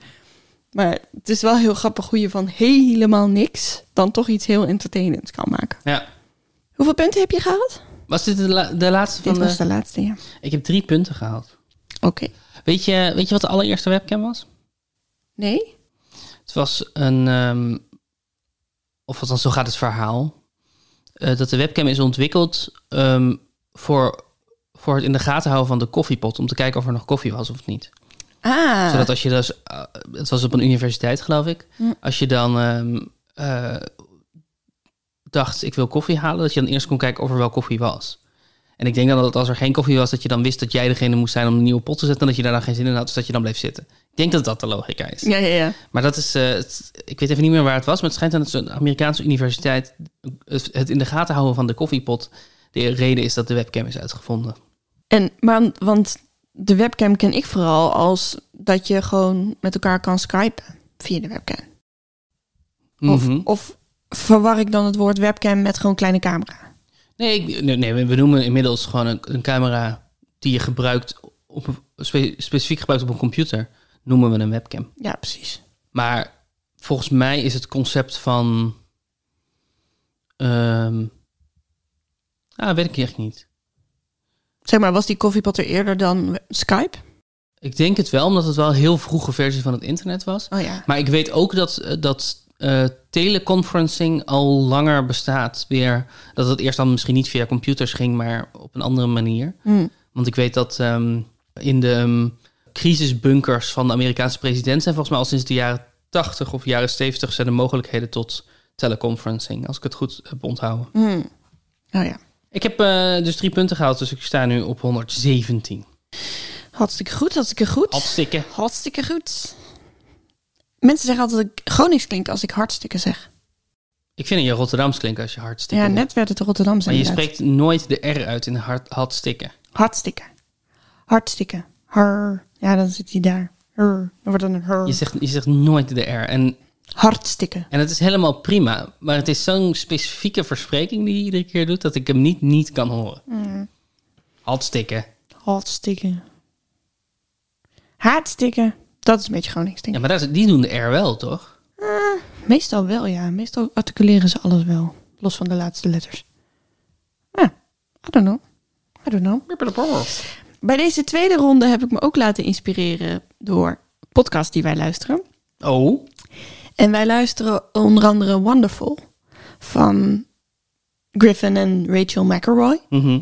S2: Maar het is wel heel grappig hoe je van helemaal niks dan toch iets heel entertainends kan maken.
S1: Ja.
S2: Hoeveel punten heb je gehaald?
S1: Was dit de, la- de laatste van
S2: Dit was
S1: de...
S2: de laatste, ja.
S1: Ik heb drie punten gehaald.
S2: Oké.
S1: Weet je, weet je wat de allereerste webcam was?
S2: Nee?
S1: Het was een... ehm, of althans, zo gaat het verhaal. eh, dat de webcam is ontwikkeld ehm, voor, voor het in de gaten houden van de koffiepot. Om te kijken of er nog koffie was of niet.
S2: Ah,
S1: Zodat als je dus, eh, het was op een universiteit geloof ik,
S2: Hm.
S1: als je dan ehm, eh, dacht ik wil koffie halen, dat je dan eerst kon kijken of er wel koffie was. En ik denk dan dat als er geen koffie was, dat je dan wist dat jij degene moest zijn om een nieuwe pot te zetten en dat je daar dan geen zin in had, dus dat je dan bleef zitten. Ik denk dat dat de logica is.
S2: ja, ja, ja.
S1: Maar dat is, eh, het- ik weet even niet meer waar het was, maar het schijnt aan dat zo'n Amerikaanse universiteit het, het in de gaten houden van de koffiepot de reden is dat de webcam is uitgevonden.
S2: En, maar, want de webcam ken ik vooral als dat je gewoon met elkaar kan skypen via de webcam. Of,
S1: Mhm.
S2: of verwar ik dan het woord webcam met gewoon kleine camera?
S1: Nee, ik- nee, nee, we- we noemen inmiddels gewoon een, een camera die je gebruikt, op een, spe- specifiek gebruikt op een computer, noemen we een webcam.
S2: Ja, precies.
S1: Maar volgens mij is het concept van. ehm, ah, weet ik echt niet.
S2: Zeg maar, was die koffiepot er eerder dan we- Skype?
S1: Ik denk het wel, omdat het wel een heel vroege versie van het internet was.
S2: Oh ja.
S1: Maar ik weet ook dat, eh, dat eh, teleconferencing al langer bestaat. Weer, dat het eerst dan misschien niet via computers ging, maar op een andere manier.
S2: Hm.
S1: Want ik weet dat ehm, in de ehm, crisisbunkers van de Amerikaanse president zijn volgens mij al sinds de jaren 80 of jaren 70 zijn de mogelijkheden tot teleconferencing, als ik het goed heb onthouden.
S2: Hm. Oh ja.
S1: Ik heb eh, dus drie punten gehaald, dus ik sta nu op 117.
S2: Hartstikke goed, hartstikke goed.
S1: Hartstikke.
S2: hartstikke goed. Mensen zeggen altijd dat ik Gronings klink als ik hartstikke zeg.
S1: Ik vind het je Rotterdams klinken als je hard stikken.
S2: Ja,
S1: doet.
S2: net werd het Rotterdamse
S1: Maar je
S2: inderdaad.
S1: spreekt nooit de R uit in hard, hard stikken.
S2: Hartstikke. Hartstikke. Har. Ja, dan zit hij daar. Har. Dan wordt dan een har.
S1: Je zegt, je zegt nooit de R. En,
S2: Hartstikke.
S1: en het is helemaal prima. Maar het is zo'n specifieke verspreking die je iedere keer doet... dat ik hem niet niet kan horen.
S2: Mm.
S1: Hard stikken.
S2: Hartstikke. Haatstikke. Dat is een beetje Gronings, denk
S1: Ja,
S2: ik.
S1: maar daar, is- die doen de R wel, toch?
S2: Meestal wel, ja. Meestal articuleren ze alles wel. Los van de laatste letters. Ja, I don't know. I don't know. Bij deze tweede ronde heb ik me ook laten inspireren door podcasts die wij luisteren.
S1: Oh,
S2: En wij luisteren onder andere Wonderful van Griffin en Rachel McElroy.
S1: Mhm.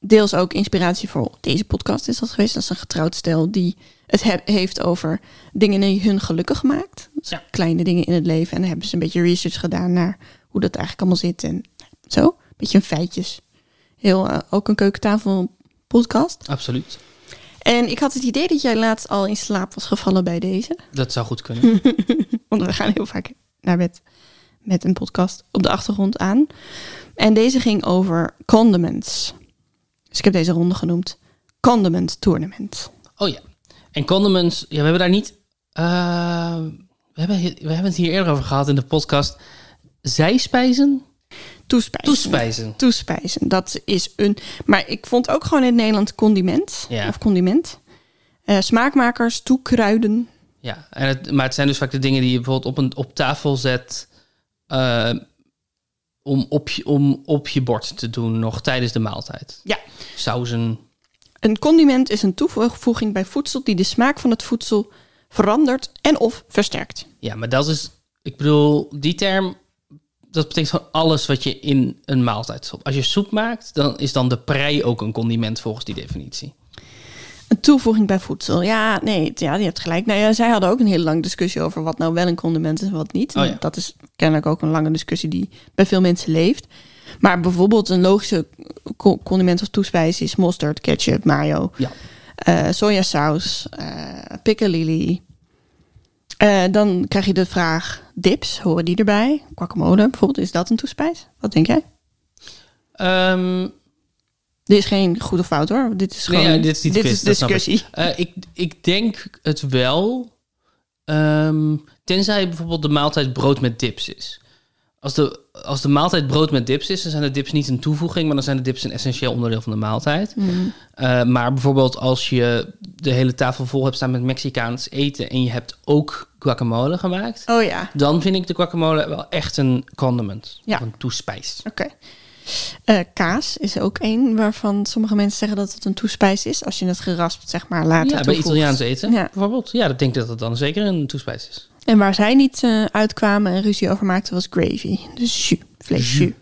S2: Deels ook inspiratie voor deze podcast is dat geweest. Dat is een getrouwd stel die het he- heeft over dingen die hun gelukkig maakt. Dus
S1: Ja.
S2: Kleine dingen in het leven. En daar hebben ze een beetje research gedaan naar hoe dat eigenlijk allemaal zit. En zo, een beetje een feitjes. Heel, eh, ook een keukentafel podcast.
S1: absoluut.
S2: En ik had het idee dat jij laatst al in slaap was gevallen bij deze.
S1: Dat zou goed kunnen.
S2: Want we gaan heel vaak naar bed met een podcast op de achtergrond aan. En deze ging over condiments. Dus ik heb deze ronde genoemd Condiment Tournament.
S1: Oh ja. En condiments, ja, we hebben daar niet... eh, we, hebben, hi- we hebben het hier eerder over gehad in de podcast. Zijspijzen?
S2: Toespijzen.
S1: Toespijzen.
S2: Toespijzen, dat is een... Maar ik vond ook gewoon in het Nederland condiment.
S1: Ja.
S2: Of condiment. Eh, smaakmakers, toekruiden.
S1: Ja, en het, maar het zijn dus vaak de dingen die je bijvoorbeeld op, een, op tafel zet... eh, om, op je, om op je bord te doen, nog tijdens de maaltijd.
S2: Ja.
S1: Sauzen.
S2: Een condiment is een toevoeging bij voedsel die de smaak van het voedsel verandert en of versterkt.
S1: Ja, maar dat is, dus- ik bedoel, die term, dat betekent gewoon alles wat je in een maaltijd stopt. Als je soep maakt, dan is dan de prei ook een condiment volgens die definitie.
S2: Een toevoeging bij voedsel. Ja, nee, t- ja, je hebt gelijk. Nou ja, zij hadden ook een hele lange discussie over wat nou wel een condiment is en wat niet.
S1: Oh ja.
S2: Dat is kennelijk ook een lange discussie die bij veel mensen leeft. Maar bijvoorbeeld een logische co- condiment of toespijs is mosterd, ketchup, mayo,
S1: Ja.
S2: eh, sojasaus, eh piccalilli. Eh, dan krijg je de vraag, dips, horen die erbij? Guacamole bijvoorbeeld, is dat een toespijs? Wat denk jij?
S1: Ehm,
S2: Dit is geen goed of fout hoor. Dit is
S1: nee,
S2: gewoon
S1: ja, dit is niet
S2: dit
S1: quiz,
S2: is
S1: dat snap ik.
S2: discussie.
S1: Eh, ik, ik denk het wel, ehm, tenzij bijvoorbeeld de maaltijd brood met dips is. Als de, als de maaltijd brood met dips is, dan zijn de dips niet een toevoeging, maar dan zijn de dips een essentieel onderdeel van de maaltijd.
S2: Mhm.
S1: Eh, maar bijvoorbeeld als je de hele tafel vol hebt staan met Mexicaans eten en je hebt ook guacamole gemaakt,
S2: Oh ja,
S1: dan vind ik de guacamole wel echt een condiment,
S2: Ja.
S1: of een toespijs.
S2: oké. Eh, kaas is er ook één waarvan sommige mensen zeggen dat het een toespijs is. Als je het geraspt, zeg maar, later
S1: Ja, bij
S2: toevoegt.
S1: Italiaans eten
S2: Ja.
S1: bijvoorbeeld. Ja, dat denk ik dat het dan zeker een toespijs is.
S2: En waar zij niet eh, uitkwamen en ruzie over maakten, was gravy. Dus jus, vleesjus.
S1: Jus.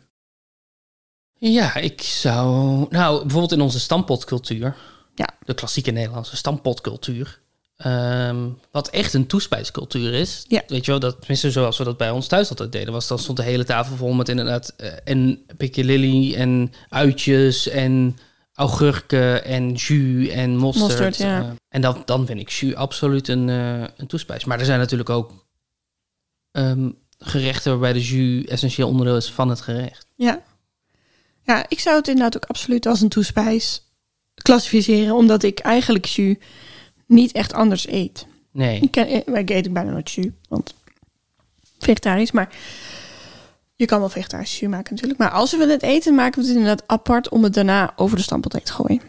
S1: Ja, ik zou. Nou, bijvoorbeeld in onze stampotcultuur.
S2: Ja.
S1: De klassieke Nederlandse stampotcultuur. ehm, wat echt een toespijscultuur is.
S2: Ja.
S1: Weet je wel, dat, tenminste zoals we dat bij ons thuis altijd deden. Was, dan stond de hele tafel vol met inderdaad. eh, en piccalilli en uitjes en augurken en jus en mosterd.
S2: Mosterd, ja.
S1: eh. en dan, dan vind ik jus absoluut een, eh, een toespijs. Maar er zijn natuurlijk ook ehm, gerechten waarbij de jus essentieel onderdeel is van het gerecht.
S2: Ja. Ja, ik zou het inderdaad ook absoluut als een toespijs klassificeren, omdat ik eigenlijk jus niet echt anders eet.
S1: Nee.
S2: Ik, ken, eh, maar ik eet ook bijna nooit jus, want vegetarisch, maar je kan wel vegetarisch jus maken natuurlijk. Maar als we het eten, maken we het inderdaad apart om het daarna over de stamppot heen te gooien.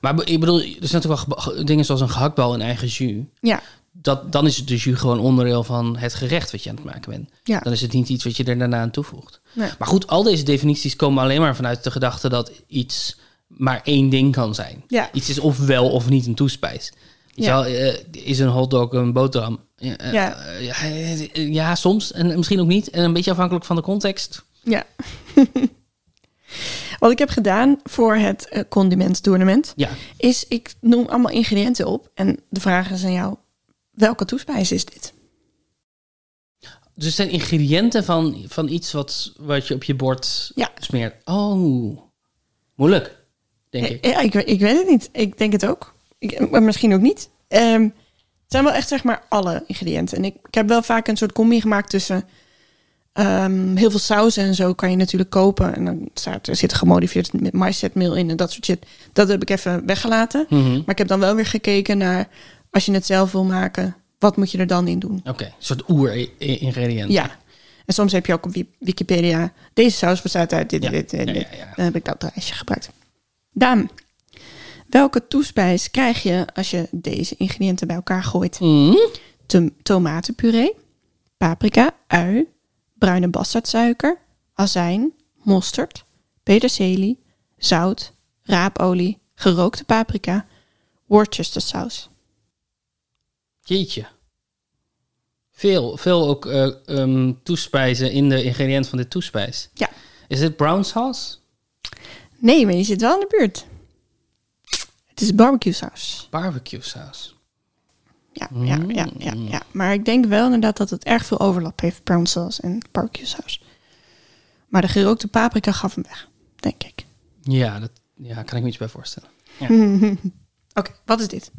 S1: Maar be- ik bedoel, er zijn natuurlijk wel geba- ge- dingen zoals een gehaktbal in eigen jus.
S2: Ja,
S1: Dat, dan is het de jus gewoon onderdeel van het gerecht wat je aan het maken bent.
S2: ja.
S1: Dan is het niet iets wat je er daarna aan toevoegt.
S2: Nee.
S1: Maar goed, al deze definities komen alleen maar vanuit de gedachte dat iets maar één ding kan zijn.
S2: Ja.
S1: Iets is of wel of niet een toespijs. Weet
S2: Ja.
S1: je wel, eh, is een hotdog een boterham? Ja, eh,
S2: Ja.
S1: eh, ja, eh, eh, ja, soms. En misschien ook niet. En een beetje afhankelijk van de context.
S2: ja. Wat ik heb gedaan voor het eh, condimenttoernooi
S1: Ja,
S2: is ik noem allemaal ingrediënten op en de vraag is aan jou, welke toespijs is dit?
S1: Dus het zijn ingrediënten van, van iets wat, wat je op je bord
S2: Ja.
S1: smeert. Oh, moeilijk, denk ik.
S2: Ja, ik, ik weet het niet. Ik denk het ook. Ik, maar misschien ook niet. Ehm, het zijn wel echt zeg maar alle ingrediënten. En ik, ik heb wel vaak een soort combi gemaakt tussen... ehm, heel veel sauzen en zo kan je natuurlijk kopen. En dan staat, er zit gemodificeerd maïszetmeel in en dat soort shit. Dat heb ik even weggelaten.
S1: Mhm.
S2: Maar ik heb dan wel weer gekeken naar... als je het zelf wil maken, wat moet je er dan in doen?
S1: Oké, een soort oer-ingrediënt.
S2: Ja. En soms heb je ook op Wi- Wikipedia... deze saus bestaat uit dit,
S1: Ja.
S2: dit, dit,
S1: Ja,
S2: dit.
S1: ja, ja.
S2: Dan heb ik dat lijstje gebruikt. Daan, welke toespijs krijg je als je deze ingrediënten bij elkaar gooit?
S1: Mhm.
S2: Tom- tomatenpuree, paprika, ui, bruine bastardsuiker, azijn, mosterd, peterselie, zout, raapolie, gerookte paprika, Worcestersaus.
S1: Jeetje. Veel, veel ook eh, ehm, toespijzen in de ingrediënt van dit toespijs.
S2: Ja.
S1: Is dit brown sauce?
S2: Nee, maar je zit wel in de buurt. Het is barbecue saus.
S1: Barbecue saus.
S2: Ja, ja, ja, ja, ja. Maar ik denk wel inderdaad dat het erg veel overlap heeft. Brown sauce en barbecue saus. Maar de gerookte paprika gaf hem weg, denk ik.
S1: Ja, dat ja, kan ik me iets bij voorstellen.
S2: Oké, wat is dit?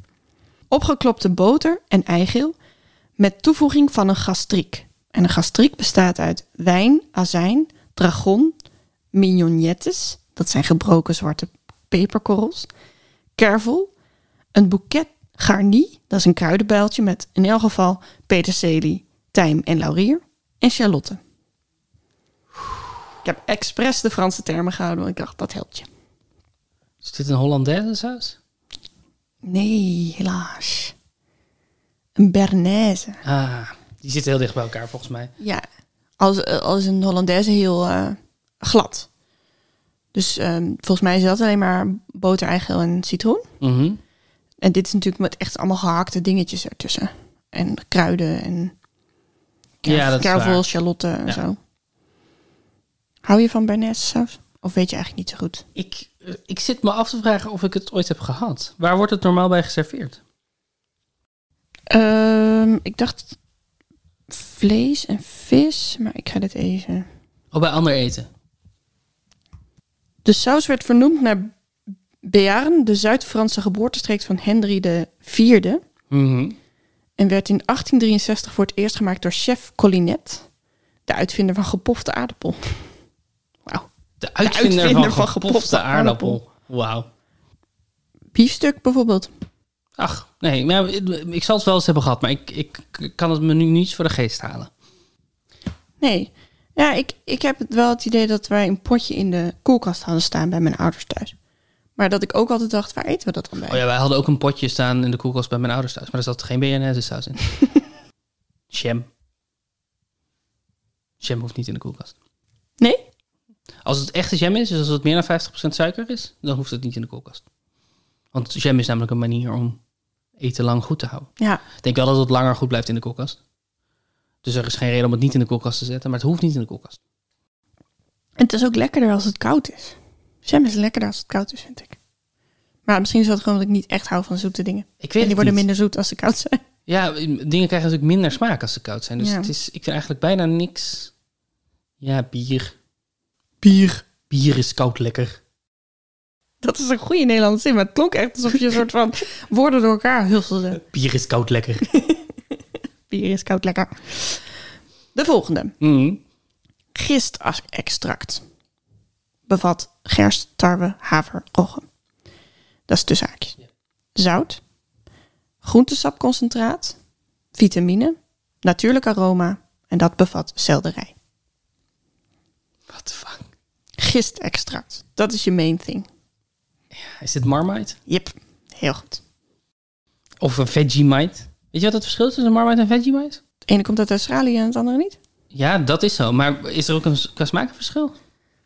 S2: Opgeklopte boter en eigeel met toevoeging van een gastriek. En een gastriek bestaat uit wijn, azijn, dragon, mignonnettes, dat zijn gebroken zwarte peperkorrels, kervel, een boeket garni, dat is een kruidenbijltje met in elk geval peterselie, tijm en laurier, en charlotte. Ik heb expres de Franse termen gehouden, want ik dacht, dat helpt je.
S1: Is dit een Hollandaise saus?
S2: Nee, helaas. Een Bernaise.
S1: Ah, die zitten heel dicht bij elkaar volgens mij.
S2: Ja, als, eh, als een Hollandaise heel eh, glad. Dus ehm, volgens mij is dat alleen maar boter, eigeel en citroen.
S1: Mhm.
S2: En dit is natuurlijk met echt allemaal gehakte dingetjes ertussen. En kruiden en kerf,
S1: Ja, dat is
S2: kervel,
S1: waar.
S2: charlotte en
S1: Ja.
S2: zo. Hou je van Bernaise saus? Of weet je eigenlijk niet zo goed?
S1: Ik, eh, ik zit me af te vragen of ik het ooit heb gehad. Waar wordt het normaal bij geserveerd?
S2: Ehm, ik dacht vlees en vis, maar ik ga dit even...
S1: Oh, bij ander eten.
S2: De saus werd vernoemd naar Béarn, de Zuid-Franse geboortestreek van Henry IV.
S1: Mhm.
S2: En werd in 1863 voor het eerst gemaakt door chef Collinet, de uitvinder van gepofte aardappel. Wauw.
S1: De uitvinder,
S2: uitvinder
S1: van,
S2: van
S1: gepofte
S2: gepofte
S1: aardappel.
S2: aardappel.
S1: Wauw.
S2: Biefstuk bijvoorbeeld.
S1: Ach, nee, maar ik- ik zal het wel eens hebben gehad, maar ik, ik kan het me nu niet voor de geest halen.
S2: Nee. Ja, ik, ik heb het wel het idee dat wij een potje in de koelkast hadden staan bij mijn ouders thuis. Maar dat ik ook altijd dacht, waar eten we dat dan bij?
S1: Oh ja, wij hadden ook een potje staan in de koelkast bij mijn ouders thuis. Maar er zat geen BNS-saus in. Jam. Jam hoeft niet in de koelkast.
S2: Nee?
S1: Als het echte jam is, dus als het meer dan 50% suiker is, dan hoeft het niet in de koelkast. Want jam is namelijk een manier om eten lang goed te houden.
S2: Ja.
S1: Ik denk wel dat het langer goed blijft in de koelkast. Dus er is geen reden om het niet in de koelkast te zetten, maar het hoeft niet in de koelkast.
S2: En het is ook lekkerder als het koud is. Jam is lekkerder als het koud is, vind ik. Maar misschien is dat gewoon dat ik niet echt hou van zoete dingen.
S1: Ik weet
S2: en die
S1: het
S2: worden
S1: niet.
S2: minder zoet als ze koud zijn.
S1: Ja, dingen krijgen natuurlijk minder smaak als ze koud zijn. Dus
S2: Ja.
S1: het is, ik vind eigenlijk bijna niks. Ja, bier.
S2: Bier.
S1: Bier is koud lekker.
S2: Dat is een goede Nederlandse zin, maar het klonk echt alsof je een soort van woorden door elkaar husselde.
S1: Bier is koud lekker.
S2: Bier is koud lekker. De volgende.
S1: Mhm.
S2: Gistextract. Bevat gerst, tarwe, haver, rogge. Dat is tussen haakjes. Zout, groentesapconcentraat, vitamine, natuurlijk aroma en dat bevat selderij.
S1: What the fuck?
S2: Gistextract, dat is je main thing.
S1: Is dit Marmite?
S2: Jip, heel goed.
S1: Of een Vegemite? Weet je wat het verschil is tussen Marmite en Vegemite?
S2: Het ene komt uit Australië en het andere niet.
S1: Ja, dat is zo. Maar is er ook een s- qua smaakverschil?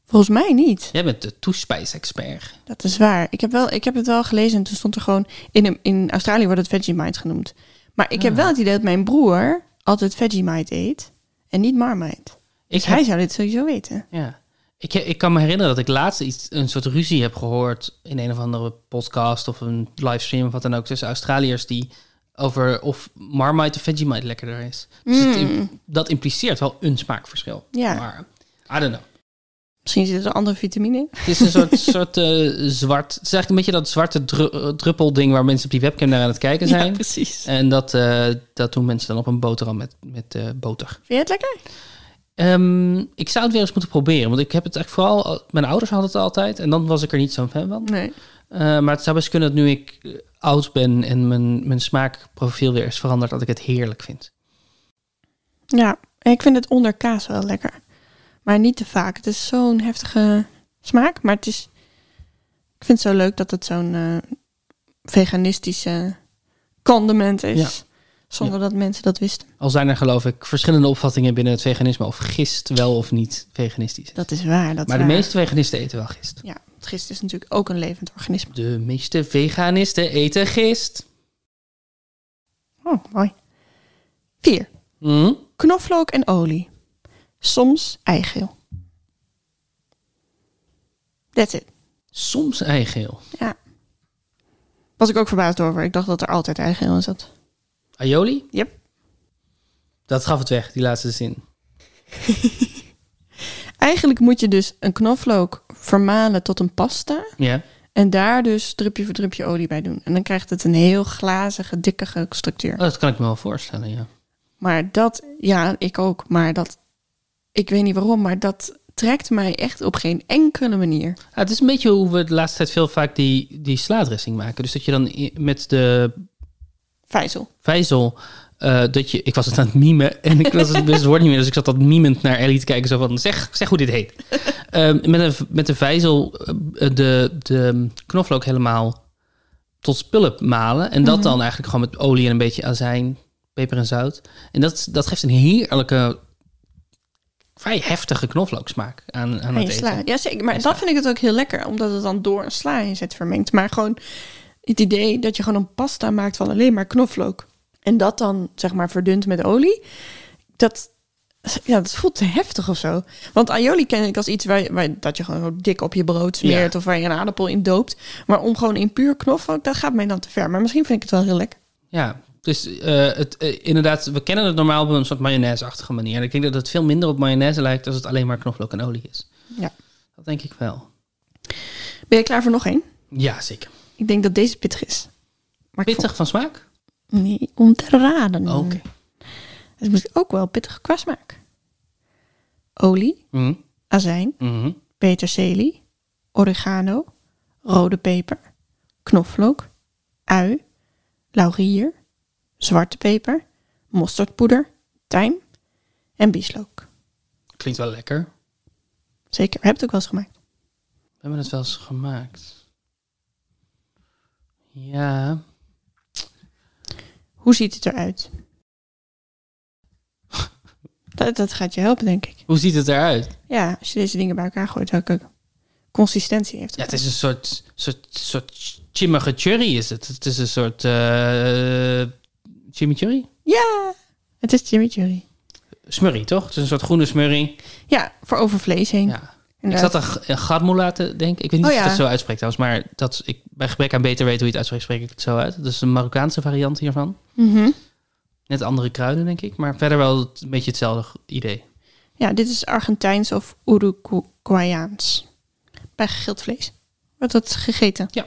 S2: Volgens mij niet.
S1: Jij bent de toespijs-expert.
S2: Dat is waar. Ik heb, wel, ik heb het wel gelezen en toen stond er gewoon... In, een- in Australië wordt het Vegemite genoemd. Maar ik
S1: Ah.
S2: heb wel het idee dat mijn broer altijd Vegemite eet en niet Marmite.
S1: Ik
S2: Dus hij zou dit sowieso weten.
S1: Ja. Ik, he- ik kan me herinneren dat ik laatst iets, een soort ruzie heb gehoord in een of andere podcast of een livestream of wat dan ook tussen Australiërs die over of Marmite of Vegemite lekkerder is. Dus het im- dat impliceert wel een smaakverschil.
S2: Hmm. Ja.
S1: Maar I don't know.
S2: Misschien zit er een andere vitamine in.
S1: Het is een soort, soort eh, zwart. Het is eigenlijk een beetje dat zwarte dru eh, druppelding waar mensen op die webcam naar aan het kijken zijn.
S2: precies.
S1: en dat, eh, dat doen mensen dan op een boterham met, met eh, boter.
S2: Vind je het lekker?
S1: Ehm, ik zou het weer eens moeten proberen. Want ik heb het eigenlijk vooral... al- Mijn ouders hadden het altijd. En dan was ik er niet zo'n fan van.
S2: Nee.
S1: Eh, maar het zou best kunnen dat nu ik eh, oud ben... en mijn, mijn smaakprofiel weer is veranderd... dat ik het heerlijk vind.
S2: Ja, en ik vind het onder kaas wel lekker. Maar niet te vaak. Het is zo'n heftige smaak. Maar het is... Ik vind het zo leuk dat het zo'n eh, veganistische condiment is. Zonder dat mensen dat wisten.
S1: Al zijn er geloof ik verschillende opvattingen binnen het veganisme... of gist wel of niet veganistisch is.
S2: Dat is waar.
S1: Dus
S2: Dat
S1: maar
S2: is
S1: de
S2: waar.
S1: meeste veganisten eten wel gist.
S2: Ja, want gist is natuurlijk ook een levend organisme.
S1: De meeste veganisten eten gist.
S2: Oh, mooi. 4.
S1: Hm?
S2: Knoflook en olie. Soms eigeel. That's it.
S1: Soms eigeel.
S2: Ja. Was ik ook verbaasd over. Ik dacht dat er altijd eigeel in zat.
S1: Aioli?
S2: Yep.
S1: Dat gaf het weg, die laatste zin.
S2: Eigenlijk moet je dus een knoflook vermalen tot een pasta.
S1: Ja.
S2: En daar dus drupje voor drupje olie bij doen. En dan krijgt het een heel glazige, dikkige structuur.
S1: Oh, dat kan ik me wel voorstellen, ja.
S2: Maar dat, ja, ik ook. Maar dat, ik weet niet waarom, maar dat trekt mij echt op geen enkele manier.
S1: Ja, het is een beetje hoe we de laatste tijd veel vaak die, die slaadressing maken. Dus dat je dan i- met de
S2: Vijzel.
S1: vijzel... eh, dat je, ik was het aan het mimen en ik was het best het woord niet meer. Dus ik zat dat miemend naar Ellie te kijken. Zo van, zeg, zeg hoe dit heet. Ehm, met, een, v- met de vijzel eh, de, de knoflook helemaal tot spulp malen. En dat dan eigenlijk gewoon met olie en een beetje azijn, peper en zout. En dat, dat geeft een heerlijke, vrij heftige knoflooksmaak aan, aan
S2: En
S1: het
S2: je
S1: eten.
S2: sla. Ja, zeker. Maar
S1: En
S2: dan vind ik het ook heel lekker, omdat het dan door een sla in zit vermengd. Maar gewoon het idee dat je gewoon een pasta maakt van alleen maar knoflook. En dat dan, zeg maar, verdunt met olie. Dat, ja, dat voelt te heftig of zo. Want aioli ken ik als iets waar, waar dat je gewoon zo dik op je brood smeert... of waar je een aardappel in doopt. Maar om gewoon in puur knoflook, dat gaat mij dan te ver. Maar misschien vind ik het wel heel lekker.
S1: Ja, dus eh, het, eh, inderdaad, we kennen het normaal op een soort mayonaise-achtige manier. En ik denk dat het veel minder op mayonaise lijkt als het alleen maar knoflook en olie is.
S2: Ja.
S1: Dat denk ik wel.
S2: Ben je klaar voor nog één?
S1: Ja, zeker.
S2: Ik denk dat deze pittig is. Maar ik
S1: Pittig van smaak?
S2: vond- nee, om te raden.
S1: Oké.
S2: Het moet ook wel pittige qua smaak. Olie,
S1: Mhm,
S2: azijn,
S1: mhm.
S2: peterselie, oregano, rode peper, knoflook, ui, laurier, zwarte peper, mosterdpoeder, tijm en bieslook.
S1: Klinkt wel lekker.
S2: Zeker. Heb je het ook wel eens gemaakt?
S1: We hebben het wel eens gemaakt. Ja.
S2: Hoe ziet het eruit? dat, dat gaat je helpen, denk ik.
S1: Hoe ziet het eruit?
S2: Ja, als je deze dingen bij elkaar gooit, welke consistentie heeft
S1: Ja,
S2: het?
S1: het is een soort, soort, soort chimmige churry is het. Het is een soort eh chimichurri?
S2: Ja, het is chimichurri.
S1: Smurrie, toch? Het is een soort groene smurrie.
S2: Ja, voor over vlees heen.
S1: Ja. Ik
S2: Inderdaad.
S1: zat aan g- aan gadmoula te denken. Ik weet niet
S2: Oh
S1: of je
S2: ja.
S1: dat zo uitspreekt trouwens. Maar dat, is- ik, bij gebrek aan beter weten hoe je het uitspreekt, spreek ik het zo uit. Dat is een Marokkaanse variant hiervan.
S2: Mhm.
S1: Net andere kruiden, denk ik. Maar verder wel het- een beetje hetzelfde idee.
S2: Ja, dit is Argentijns of Uruguayaans. Bij gegild vlees wordt dat gegeten.
S1: Ja.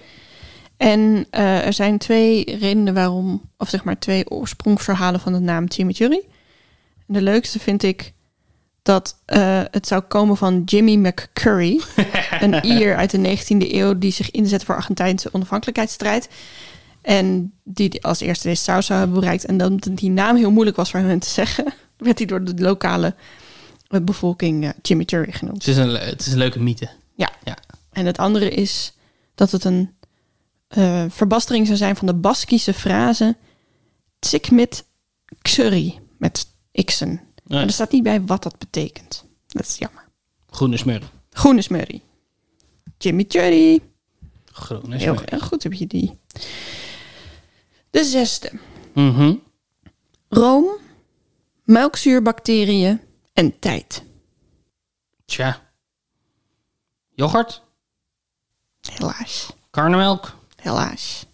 S2: En eh, er zijn twee redenen waarom, of zeg maar twee oorsprongsverhalen van de naam chimichurri. En de leukste vind ik dat eh, het zou komen van Jimmy McCurry, een Ier uit de 19e eeuw die zich inzet voor Argentijnse onafhankelijkheidsstrijd. En die als eerste deze saus zou hebben bereikt. En dan die naam heel moeilijk was voor hen te zeggen, werd die door de lokale eh, bevolking eh, chimichurri genoemd.
S1: Het is een, le- het is een leuke mythe.
S2: En het andere is dat het een eh, verbastering zou zijn van de Baskische frase tsikmit xuri met xen. Maar er staat niet bij wat dat betekent. Dat is jammer.
S1: Groene smurrie.
S2: Groene smurrie. Chimichurri.
S1: Groene
S2: Heel,
S1: smurrie.
S2: heel goed heb je die. De zesde.
S1: Mhm.
S2: Room, melkzuurbacteriën en tijd.
S1: Tja. Yoghurt,
S2: Helaas.
S1: karnemelk,
S2: Helaas.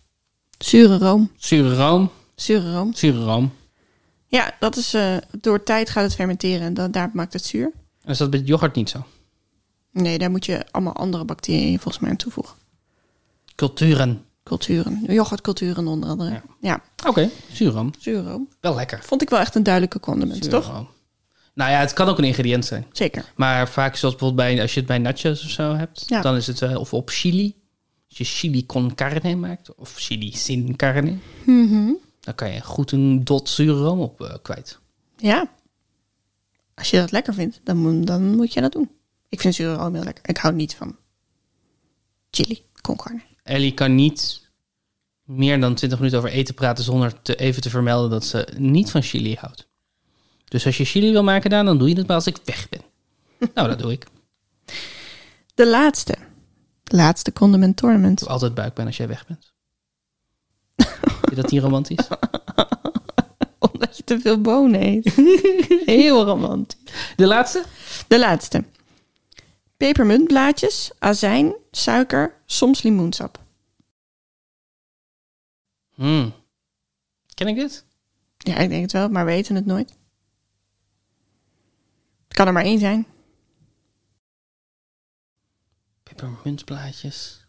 S2: Zure room.
S1: zure room,
S2: Zure room.
S1: zure room.
S2: Ja, dat is eh, door tijd gaat het fermenteren en dan, daar maakt het zuur.
S1: En is dat bij yoghurt niet zo?
S2: Nee, daar moet je allemaal andere bacteriën volgens mij aan toevoegen.
S1: Culturen.
S2: Culturen, yoghurtculturen onder andere. Ja,
S1: Ja. Oké, zure room.
S2: zuurroom.
S1: Wel lekker.
S2: Vond ik wel echt een duidelijke condiment,
S1: Zure
S2: toch?
S1: room. Nou ja, het kan ook een ingrediënt zijn.
S2: Zeker.
S1: Maar vaak zoals bijvoorbeeld bij, als je het bij nachos of zo hebt,
S2: Ja.
S1: dan is het eh, of op chili. Als je chili con carne maakt, of chili sin carne, Mhm. dan kan je goed een dot zure room op eh, kwijt.
S2: Ja. Als je dat lekker vindt, dan, moet- dan moet je dat doen. Ik vind zuurroom heel lekker. Ik hou niet van chili con carne.
S1: Ellie kan niet meer dan 20 minuten over eten praten zonder te, even te vermelden dat ze niet van chili houdt. Dus als je chili wil maken, Daan, dan doe je dat maar als ik weg ben. nou, dat doe ik. Ik
S2: De laatste. Laatste condiment tournament.
S1: heb altijd buikpijn als jij weg bent. Vind je dat niet romantisch?
S2: Omdat je te veel bonen eet. Heel romantisch.
S1: De laatste?
S2: De laatste. Pepermuntblaadjes, azijn, suiker, soms limoensap.
S1: Hmm. Ken ik dit?
S2: Ja, ik denk het wel, maar we weten het nooit. Het kan er maar één zijn.
S1: Pepermuntblaadjes.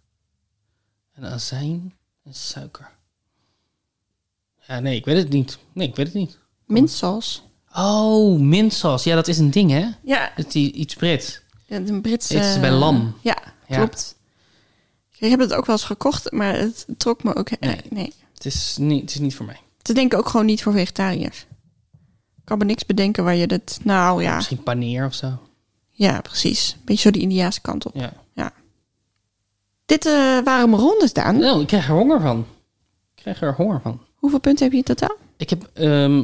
S1: En azijn en suiker. Ja, nee, ik weet het niet. Nee, ik weet het niet.
S2: Mintsaus.
S1: Oh, mintsas. Ja, dat is een ding, hè?
S2: Ja,
S1: Dat is die- iets Brits.
S2: een Britse...
S1: Eten ze bij lam?
S2: Ja,
S1: Ja.
S2: klopt. Ik heb het ook wel eens gekocht, maar het trok me ook... Nee.
S1: Nee.
S2: nee.
S1: Het is niet, het is niet voor mij.
S2: Het is denk ik ook gewoon niet voor vegetariërs. Ik kan me niks bedenken waar je dat... Nou ja,
S1: Misschien paneer of zo.
S2: ja precies. Beetje zo die Indiaanse kant op.
S1: Ja.
S2: Dit eh, waren mijn rondes, Daan.
S1: Nou, ik krijg er honger van. Ik krijg er honger van.
S2: Hoeveel punten heb je in totaal?
S1: Ik heb ehm,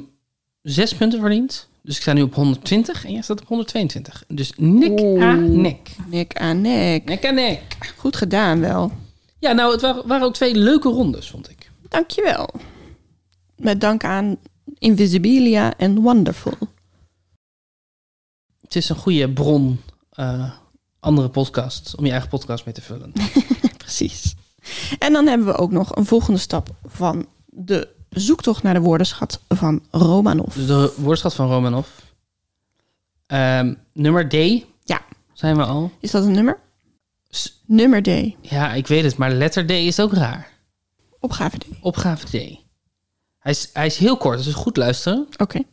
S1: zes punten verdiend. Dus ik sta nu op 120 en jij staat op 122. Dus nek aan nek.
S2: Nek aan nek.
S1: Nek aan nek.
S2: Goed gedaan wel.
S1: Ja, nou, het waren, waren ook twee leuke rondes, vond ik.
S2: Dankjewel. Met dank aan Invisibilia en Wonderful.
S1: Het is een goede bron, eh, andere podcast, om je eigen podcast mee te vullen.
S2: Precies. En dan hebben we ook nog een volgende stap van de zoektocht naar de woordenschat van Romanov.
S1: Dus de woordschat van Romanov. Ehm, nummer D.
S2: Ja.
S1: Zijn we al?
S2: Is dat een nummer?
S1: S-
S2: Nummer D.
S1: Ja, ik weet het, maar letter D is ook raar.
S2: Opgave D.
S1: Opgave D. Hij is, hij is heel kort, dus goed luisteren.
S2: Oké.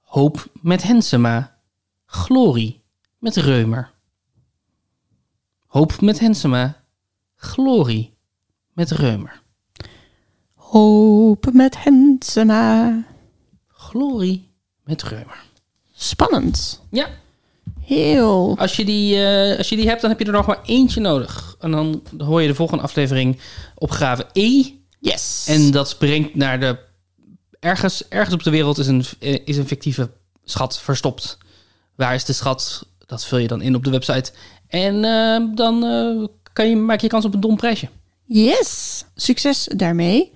S1: Hoop met Hensema. Glorie met Reumer. Hoop met Hensema. Glorie met Reumer.
S2: Hoop met Hensema.
S1: Glorie met Reumer.
S2: Spannend.
S1: Ja,
S2: Heel.
S1: als je, die, eh, als je die hebt, dan heb je er nog maar eentje nodig. En dan hoor je de volgende aflevering opgave E.
S2: Yes.
S1: En dat brengt naar de... Ergens, ergens op de wereld is een, eh, is een fictieve schat verstopt. Waar is de schat? Dat vul je dan in op de website. En eh, dan eh, kan je, maak je kans op een dom prijsje.
S2: yes. Succes daarmee.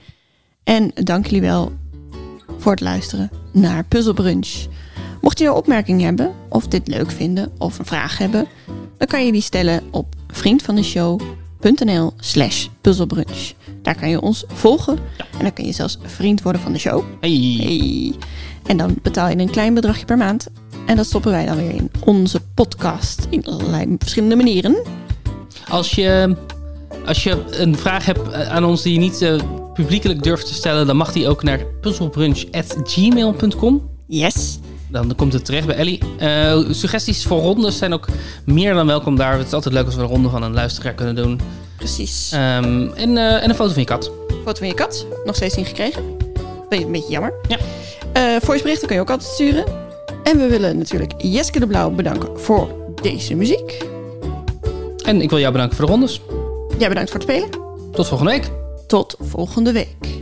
S2: En dank jullie wel voor het luisteren naar Puzzle Brunch. Mocht je een opmerking hebben, of dit leuk vinden, of een vraag hebben, dan kan je die stellen op vriendvandeshow.nl slash puzzelbrunch. Daar kan je ons volgen en dan kun je zelfs vriend worden van de show.
S1: Hey.
S2: Hey. En dan betaal je een klein bedragje per maand. En dat stoppen wij dan weer in onze podcast. In allerlei verschillende manieren.
S1: Als je, als je een vraag hebt eh, aan ons die je niet eh, publiekelijk durft te stellen... dan mag die ook naar puzzelbrunch.gmail.com.
S2: Yes.
S1: Dan komt het terecht bij Ellie. Eh, suggesties voor rondes zijn ook meer dan welkom daar. Het is altijd leuk als we een ronde van een luisteraar kunnen doen.
S2: Precies.
S1: Ehm, en, eh, en een foto van je kat.
S2: Foto van je kat. Nog steeds niet gekregen. Ben je een beetje jammer.
S1: Ja.
S2: Eh voiceberichten kun je ook altijd sturen. En we willen natuurlijk Jeske de Blauw bedanken voor deze muziek.
S1: En ik wil jou bedanken voor de rondes.
S2: Jij bedankt voor het spelen.
S1: Tot volgende week.
S2: Tot volgende week.